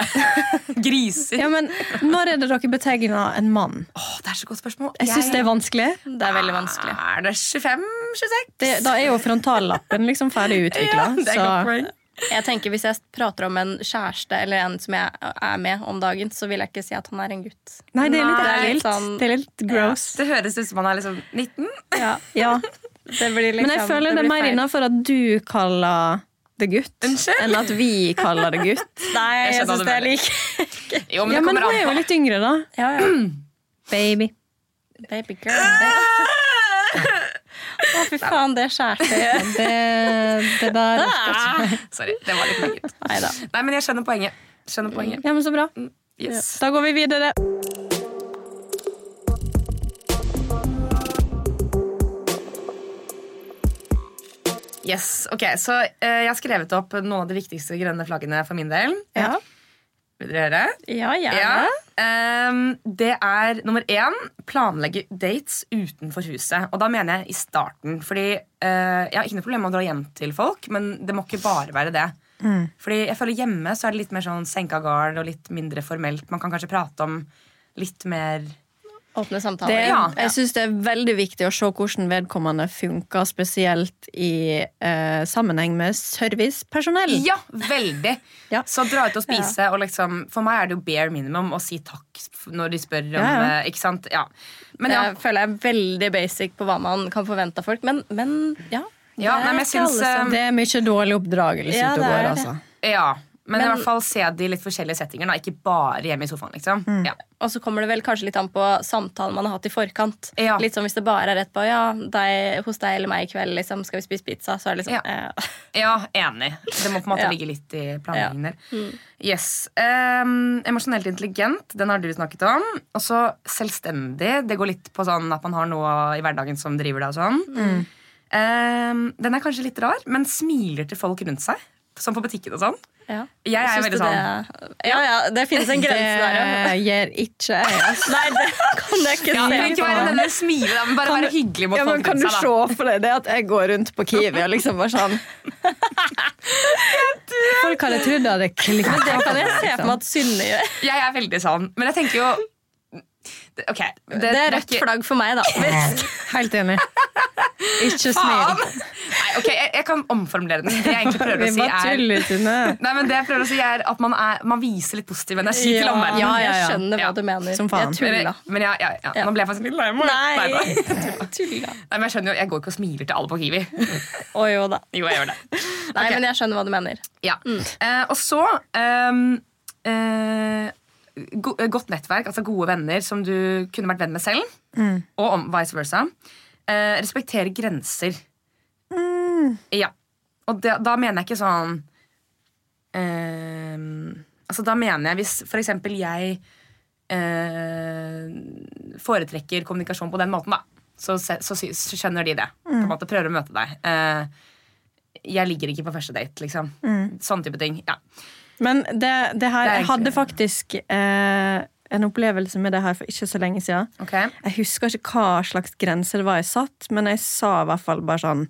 griser.
Ja, men Når er det dere betegner en mann?
Åh, det er så godt spørsmål.
Jeg syns det er vanskelig.
Det er veldig vanskelig.
Er det 25-26?
Det, da er jo frontallappen liksom ferdig utvikla.
ja, det er godt poeng.
Jeg tenker Hvis jeg prater om en kjæreste eller en som jeg er med om dagen, så vil jeg ikke si at han er en gutt.
Nei, det er litt
Nei,
ekkelt.
sånn-
Det er litt gross.
Det høres ut som han er liksom 19.
Ja,
Ja.
det blir liksom,
Men jeg føler det er
blir
mer
feil.
innafor at du kaller det gutt,
Unnskyld?
enn at vi kaller det gutt.
Nei, jeg,
Jeg skjønner hva
synes
du
det er
mener.
lik.
Jo, men
Ja,
det
men
kommer
hun
an
er jo
på.
litt yngre, da.
Ja, ja.
Baby.
Baby girl. Å, fy faen, det skjærte jeg.
Det, det der
Ah! Sorry, det var litt meget.
Neida.
Nei, men jeg skjønner poenget. Skjønner poenget.
Ja, men så bra.
Yes.
Da går vi videre.
yes. Ok, så eh, jeg har skrevet opp noen av de viktigste grønne flaggene for min del.
Ja.
Vil dere høre?
Ja, gjerne.
Ja. Ehm, det er nummer én planlegge dates utenfor huset. Og da mener jeg i starten. Fordi eh, jeg har ikke noe problem med å dra hjem til folk, men det må ikke bare være det.
Mm.
Fordi jeg føler hjemme så er det litt mer sånn senka gard og litt mindre formelt. Man kan kanskje prate om litt mer
Åpne
Det,
samtaler.
Ja.
Jeg syns det er veldig viktig å se hvordan vedkommende funker, spesielt i eh, sammenheng med servicepersonell.
Ja, veldig.
Ja.
Så dra ut og spise, og liksom For meg er det jo bare minimum å si takk f- når de spør om
Ja, ja. Eh,
eh, Ikke sant? Ja. Men
Det
ja.
føler jeg er veldig basic på hva man kan forvente av folk. Men, men ja.
ja nei,
det er
men jeg
ikke alle
syns
som-
Det er mye dårlig oppdragelse
eh, Ja,
ute og
det er
går,
det.
altså.
eh, Ja. Men, i
Men-
hvert fall se de litt forskjellige settinger, da. Ikke bare hjemme i sofaen, liksom.
Mm.
Ja.
Og så kommer det vel kanskje litt an på samtalen man har hatt i forkant.
Ja.
Litt som hvis det bare er rett på ja, deg, hos deg eller meg i kveld liksom, skal vi spise pizza. Så er det liksom
Ja.
eh,
ja, enig. Det må på en måte
Ja.
ligge litt i planleggingen der. Yes. Em, emosjonelt intelligent, den har du snakket om. Og så selvstendig. Det går litt på sånn at man har noe i hverdagen som driver deg og sånn. Em, den er kanskje litt rar, men smiler til folk rundt seg. Som på butikken og sånn.
ja.
Jeg er
Syns
veldig
du
sånn
det- Ja, ja, det finnes en
Det
grense der, ja.
gjør ikke jeg. altså.
Nei, det kan jeg ikke
ja,
se.
men Ikke være den der smile, da, men bare være hyggelig mot
Ja, men
folk
Kan
rundt
du
seg.
se for deg det at jeg går rundt på Kiwi og liksom bare sånn Folk hadde trodd jeg hadde liksom. klikka.
Men det kan jeg se for meg at Synne gjør.
da Jeg er veldig sånn, men jeg tenker jo Det- Ok, det,
Det er rødt
ikke-
flagg for meg, da.
Helt enig. Ikke
Faen!
smil.
Nei, ok, jeg, jeg kan omformulere den. Det jeg egentlig prøver
Vi
å si
bare
er
tuller, Tune.
Nei, men det jeg prøver å si er at man, er, man viser litt positiv energi til omverdenen.
Ja, ja,
Jeg
ja.
skjønner hva
Ja.
du mener.
Som faen.
Jeg
Men,
tulla.
men ja, ja, ja.
Ja.
Nå ble jeg faktisk litt lei meg.
Nei,
Nei, nei.
tulla.
Nei, men jeg skjønner jo, jeg går ikke og smiler til alle på Kiwi.
Å jo da.
Jo, jeg gjør det.
Nei, men jeg skjønner hva du mener.
Ja. Eh, og så ehm, eh, go eh, Godt nettverk, altså gode venner som du kunne vært venn med selv, og om vice versa. Eh, respektere grenser. Ja. Og da- da mener jeg ikke sånn ehm, Altså, da mener jeg hvis for eksempel jeg eh, foretrekker kommunikasjon på den måten, da, så, se- så, sy- så skjønner de det. På en måte prøver å møte deg. Eh, jeg ligger ikke på første date, liksom. Sånn type ting. Ja.
Men det, det her
Det er
Jeg hadde faktisk eh, en opplevelse med det her for ikke så lenge siden.
Ok.
Jeg husker ikke hva slags grense det var jeg satt, men jeg sa i hvert fall bare sånn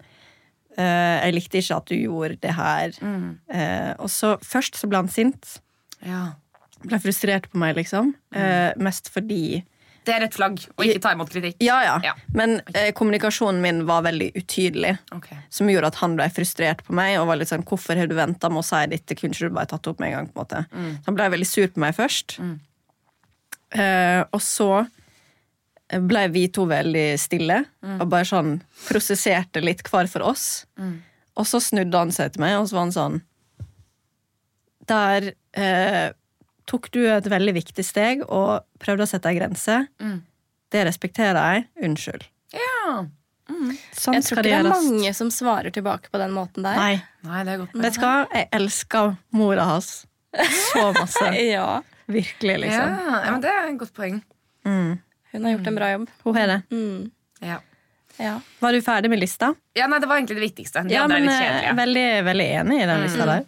eh, Jeg likte ikke at du gjorde det her. Eh, og så først så ble han sint.
Ja.
Ble frustrert på meg, liksom. Eh, mest fordi
Det er rødt flagg å ikke ta imot kritikk.
Ja, ja.
Ja.
Men eh, kommunikasjonen min var veldig utydelig.
Ok.
Som gjorde at han ble frustrert på meg og var litt sånn 'Hvorfor har du venta med å si dette? Kunne ikke du bare tatt det opp med en gang?' på en måte.
Mm.
Så han ble veldig sur på meg først. Eh, og så ble vi to veldig stille
Mm.
og bare sånn prosesserte litt hver for oss.
Mm.
Og så snudde han seg til meg, og så var han sånn Der eh, tok du et veldig viktig steg og prøvde å sette ei grense.
Mm.
Det respekterer jeg. Unnskyld.
Ja.
Sånn
Jeg tror
skal
ikke
det
det er
gjøres.
mange som svarer tilbake på den måten der.
Nei.
Nei, det er godt.
Vet du hva? Jeg elsker mora hans så masse.
Ja,
Virkelig,
Ja,
liksom.
ja, men det er et godt poeng.
hun har gjort en bra jobb.
Hun har det.
Mm.
Ja.
Ja.
Var du ferdig med lista?
ja, nei, Det var egentlig det viktigste. Det
Ja,
andre er
men
litt
eh,
kjedelig. Mm.
veldig, veldig enig i den lista der.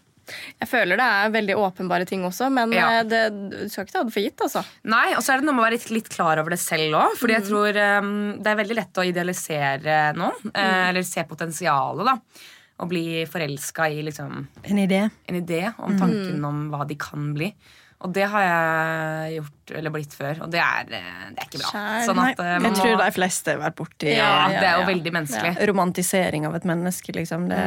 Jeg føler det er veldig åpenbare ting også, men
Ja.
eh, det, du skal ikke ta det for gitt. altså.
Nei, og så er det noe med å være litt, litt klar over det selv òg. Fordi jeg tror ehm, det er veldig lett å idealisere noen. eh, Eller se potensialet, da. Og bli forelska i liksom
En idé.
en idé om tanken om hva de kan bli. Og det har jeg gjort, eller blitt før, og det er, eh, det er ikke bra.
Skjær,
Sånn
Nei,
at eh,
jeg
man
tror
må
de fleste har vært borti
ja,
Ja, ja,
Det Mm. er jo
ja.
veldig menneskelig.
eh, romantisering av et menneske, liksom. Det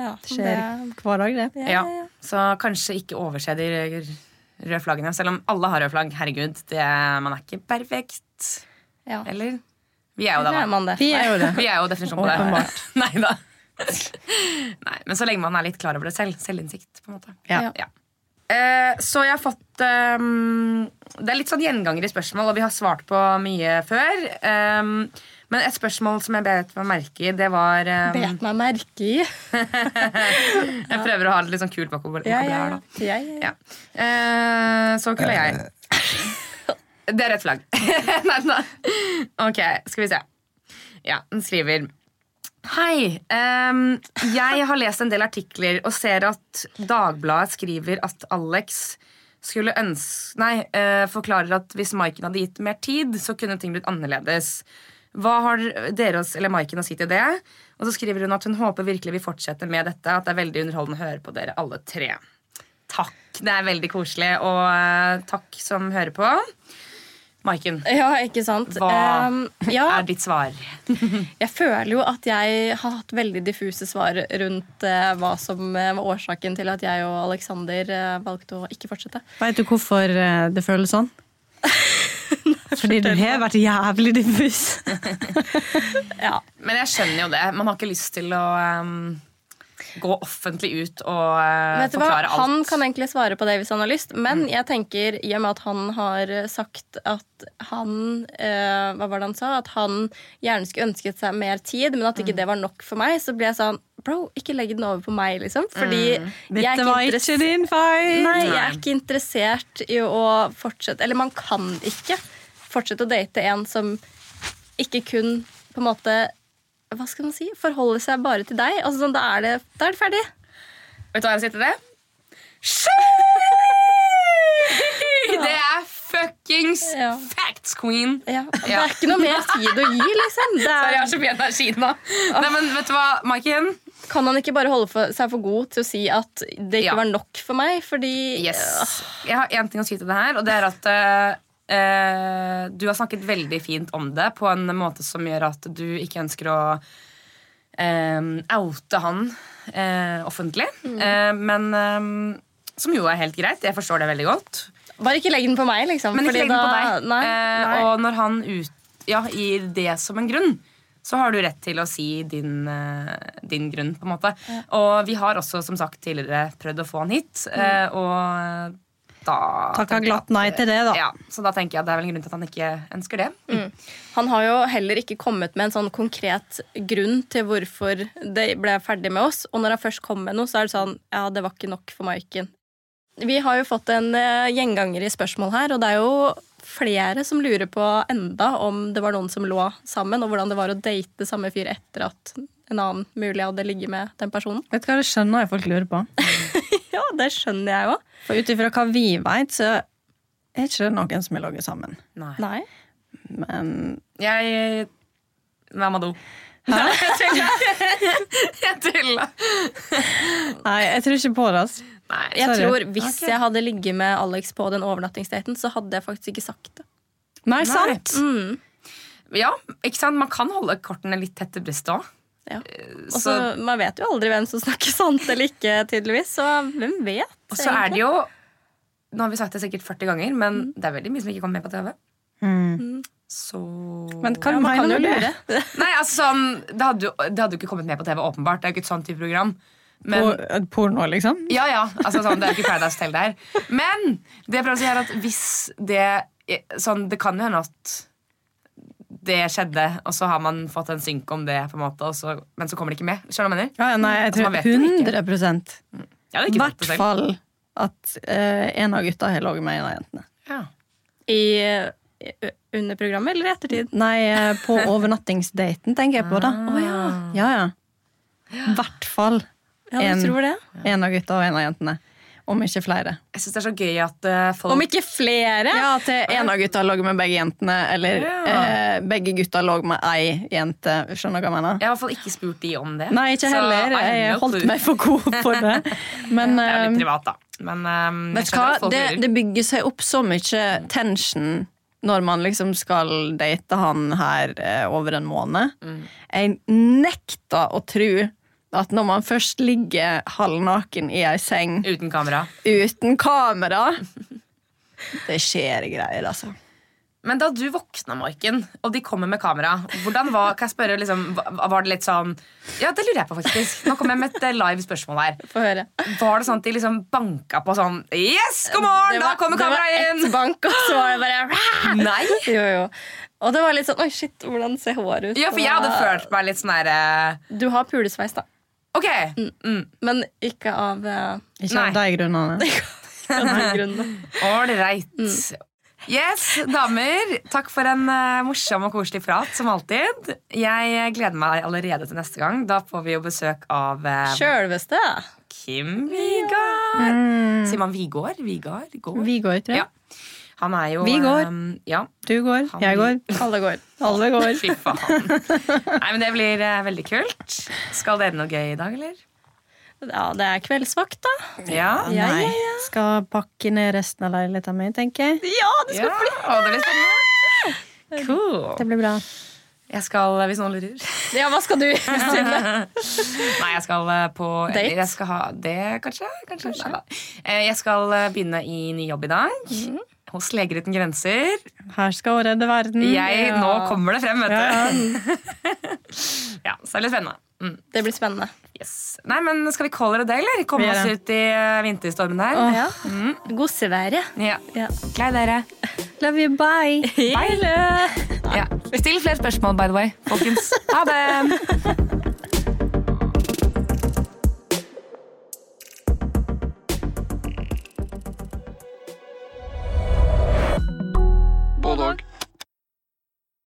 Ja,
det skjer hver dag, det.
Ja, Så kanskje ikke overse de rø- røde flaggene. Selv om alle har røde flagg. Herregud, det, man er ikke perfekt.
Ja.
Eller? Vi er jo
Da
det,
er
da.
man det.
Vi er jo det.
Vi er jo definisjonen på det. Nei da. Nei, men så lenge man er litt klar over det selv. Selvinnsikt, på en måte.
Ja.
Ja. Eh, så jeg har fått ehm, Det er litt sånn gjenganger i spørsmål, og vi har svart på mye før. Ehm, men et spørsmål som jeg bet meg merke i, det var ehm,
Bet meg merke i.
Jeg prøver å ha det litt sånn kult vokabular.
Ja, ja,
vokabular
ja.
da.
Ja, ja, ja.
Ja. Eh, så kul er jeg. Det er rødt flagg. nei, nei. Ok, skal vi se. Ja, den skriver Hei. ehm, jeg har lest en del artikler og ser at Dagbladet skriver at Alex skulle ønske Nei, eh, forklarer at hvis Maiken hadde gitt mer tid, så kunne ting blitt annerledes. Hva har dere oss, eller Maiken å si til det? Og så skriver hun at hun håper virkelig vi fortsetter med dette, at det er veldig underholdende å høre på dere alle tre. Takk. Det er veldig koselig. Og eh, takk som hører på. Maiken,
Ja, ikke sant?
Hva
Eh, ja,
er ditt svar?
jeg føler jo at jeg har hatt veldig diffuse svar rundt eh, hva som eh, var årsaken til at jeg og Aleksander eh, valgte å ikke fortsette.
Veit du hvorfor eh, det føles sånn? Fordi du har vært jævlig diffus.
Ja,
Men jeg skjønner jo det. Man har ikke lyst til å ehm, gå offentlig ut og eh,
Vet du hva?
forklare alt.
Han kan egentlig svare på det hvis han har lyst, men jeg tenker, i og med at han har sagt at han eh, Hva var det han sa? At han gjerne skulle ønsket seg mer tid, men at ikke det var nok for meg. Så ble jeg sånn Bro, ikke legg den over på meg, liksom. Fordi jeg, er
Dette var ikke
interess-
din feil.
Nei, jeg er ikke interessert i å fortsette Eller man kan ikke fortsette å date en som ikke kun på en måte Hva skal man si? Forholder seg bare til deg. Altså, sånn, da, er det, da er det ferdig.
Vet du hva jeg sier til det? Skyy! Det er fuckings
Ja.
facts, queen!
Ja. Det
Ja.
er ikke noe mer tid å gi, liksom. Det
Sorry, jeg
er,
har så mye energi nå.
Ah.
Nei, men vet du hva, Maiken?
kan han ikke bare holde for, seg for god til å si at det ikke
Ja.
var nok for meg? Fordi eh,
Yes. Jeg har én ting å si til det her, og det er at eh, eh, du har snakket veldig fint om det på en måte som gjør at du ikke ønsker å eh, oute han eh, offentlig. Eh, men eh, som jo er helt greit. Jeg forstår det veldig godt.
Bare ikke legg den på meg, liksom.
Men
fordi
ikke legg den på
da-
deg.
Nei,
Eh,
nei.
og når han ut, ja, gir det som en grunn, så har du rett til å si din, eh, din grunn, på en måte. Og vi har også, som sagt tidligere, prøvd å få han hit,
Mm.
eh, og da
Takka
tenker jeg
glatt
at-
nei til det, da.
Ja, så da tenker jeg at det er vel en grunn til at han ikke ønsker det.
Mm. Han har jo heller ikke kommet med en sånn konkret grunn til hvorfor det ble ferdig med oss. Og når han først kom med noe, så er det sånn Ja, det var ikke nok for Maiken. Vi har jo fått en eh, gjenganger i spørsmål her, og det er jo flere som lurer på enda om det var noen som lå sammen, og hvordan det var å date samme fyr etter at en annen mulig hadde ligget med den personen.
Vet du hva det skjønner jeg folk lurer på?
Ja, det skjønner jeg jo.
For ut ifra hva vi veit, så er ikke det noen som har ligget sammen.
Nei.
Nei.
Men
Jeg Mamadou. Jeg tulla.
nei, jeg tror ikke på det. Altså.
Nei,
Jeg
Sorry.
tror hvis
Ok.
jeg hadde ligget med Alex på den overnattingsdaten, så hadde jeg faktisk ikke sagt det.
Nei, sant?
Mm.
ja, ikke sant? Man kan holde kortene litt tett til brystet òg.
Ja. Og så, man vet jo aldri hvem som snakker sant eller ikke, tydeligvis. Så hvem vet?
Og så er det jo Nå har vi sagt det sikkert 40 ganger, men det er veldig mye som ikke kommer med på TV.
Mm.
Så
Men hva
Ja, man
mener
kan jo
du?
lure.
Nei, altså sånn Det hadde jo det hadde jo ikke kommet med på TV, åpenbart. Det er jo ikke et sånt type program. Men
Por- eh, Porno, liksom?
Ja, ja. Altså, sånn, det er ikke Paradise Hotel der. Men det jeg prøver å si er at hvis det sånn, Det kan jo hende at det skjedde, og så har man fått en synk om det, på en måte, og så, men så kommer det ikke med. Skjønner du hva jeg mener?
Ja, ja, nei, jeg
Altså, man
tror
vet jo ikke.
100
Jeg hadde
I
ikke sagt
hvert
det selv.
fall at eh, en av gutta har ligget med en av jentene.
Ja.
I, i- under programmet eller i ettertid?
Nei, eh, på overnattingsdaten tenker jeg på, da.
Å ja.
Ja, ja. I hvert fall
ja, du
En-
tror det?
en av gutta og en av jentene. Om ikke flere.
Jeg syns det er så gøy at eh, folk
Om ikke flere!
Ja, at eh, en av gutta lå med begge jentene, eller
Ja.
eh, begge gutta lå med ei jente. Skjønner du hva jeg mener?
Jeg har i hvert fall ikke spurt de om det.
Nei, ikke
Så
heller.
I have
Jeg
no
holdt
clue.
meg for god på det. Men
Det er jo
eh,
litt privat, da. Men um,
vet du hva? Det, det bygger seg opp så mye tension når man liksom skal date han her eh, over en måned.
Mm.
Jeg nekter å tro at når man først ligger halvnaken i ei seng
Uten kamera.
uten kamera Det skjer greier, altså.
Men da du våkna, Maiken, og de kommer med kamera, hvordan var kan jeg spørre, liksom, hva- var det litt sånn Ja, det lurer jeg på, faktisk. Nå kom jeg med et eh, live spørsmål her.
Få høre.
Var det sånn at de liksom banka på sånn Yes, god
Det
morgen! Da
var-
kommer kameraet
Det var ett
inn!
bank, og så var det bare
Nei.
Jo, jo. Og det var litt sånn Oi, shit, hvordan ser håret ut?
Ja, for jeg hadde følt meg litt sånn her eh,
Du har pulesveis, da.
Ok. Mm.
Men ikke av eh,
Ikke av de
Nei.
grunnene.
av de grunnene.
Ålreit. Yes, damer. Takk for en eh, morsom og koselig prat, som alltid. Jeg gleder meg allerede til neste gang. Da får vi jo besøk av eh,
Sjølveste.
Kim Vigard. Sier man Vigård? Mm. Vigard? Gård?
Vi går, tror jeg.
Ja. Han er jo
Vigård.
eh, ja.
Du går,
Han-
jeg går.
Alle går.
Alle går.
Fy faen. Nei, men det blir eh, veldig kult. Skal dere noe gøy i dag, eller?
Ja, det er kveldsvakt, da.
Ja.
Ja, ja,
Nei. Skal pakke ned resten av leiligheten min, tenker jeg.
Ja, du
Ja, Å, det blir spennende. Cool.
Det blir bra.
Jeg skal, eh, hvis noen lurer
Ja, hva skal du gjøre?
Nei, jeg skal eh, på
Date?
Jeg skal ha det, kanskje. kanskje. Nei, da. Eh, Jeg skal eh, begynne i ny jobb i dag. Hos Leger uten grenser.
Her skal hun redde verden.
Jeg,
ja.
Nå kommer det frem, vet
Ja,
du. Ja, så det er litt spennende. Mm,
Det blir spennende.
yes. Nei, men Skal vi calle det det, eller?
Vi
Komme
gjør
oss
det.
ut i eh, vinterstormen her?
Ja. Mm. Godsevær, ja.
Ja.
Ja.
Glei dere.
Love you, bye.
Eller-
Ja. Still flere spørsmål, by the way, folkens. Ha det!
Både og.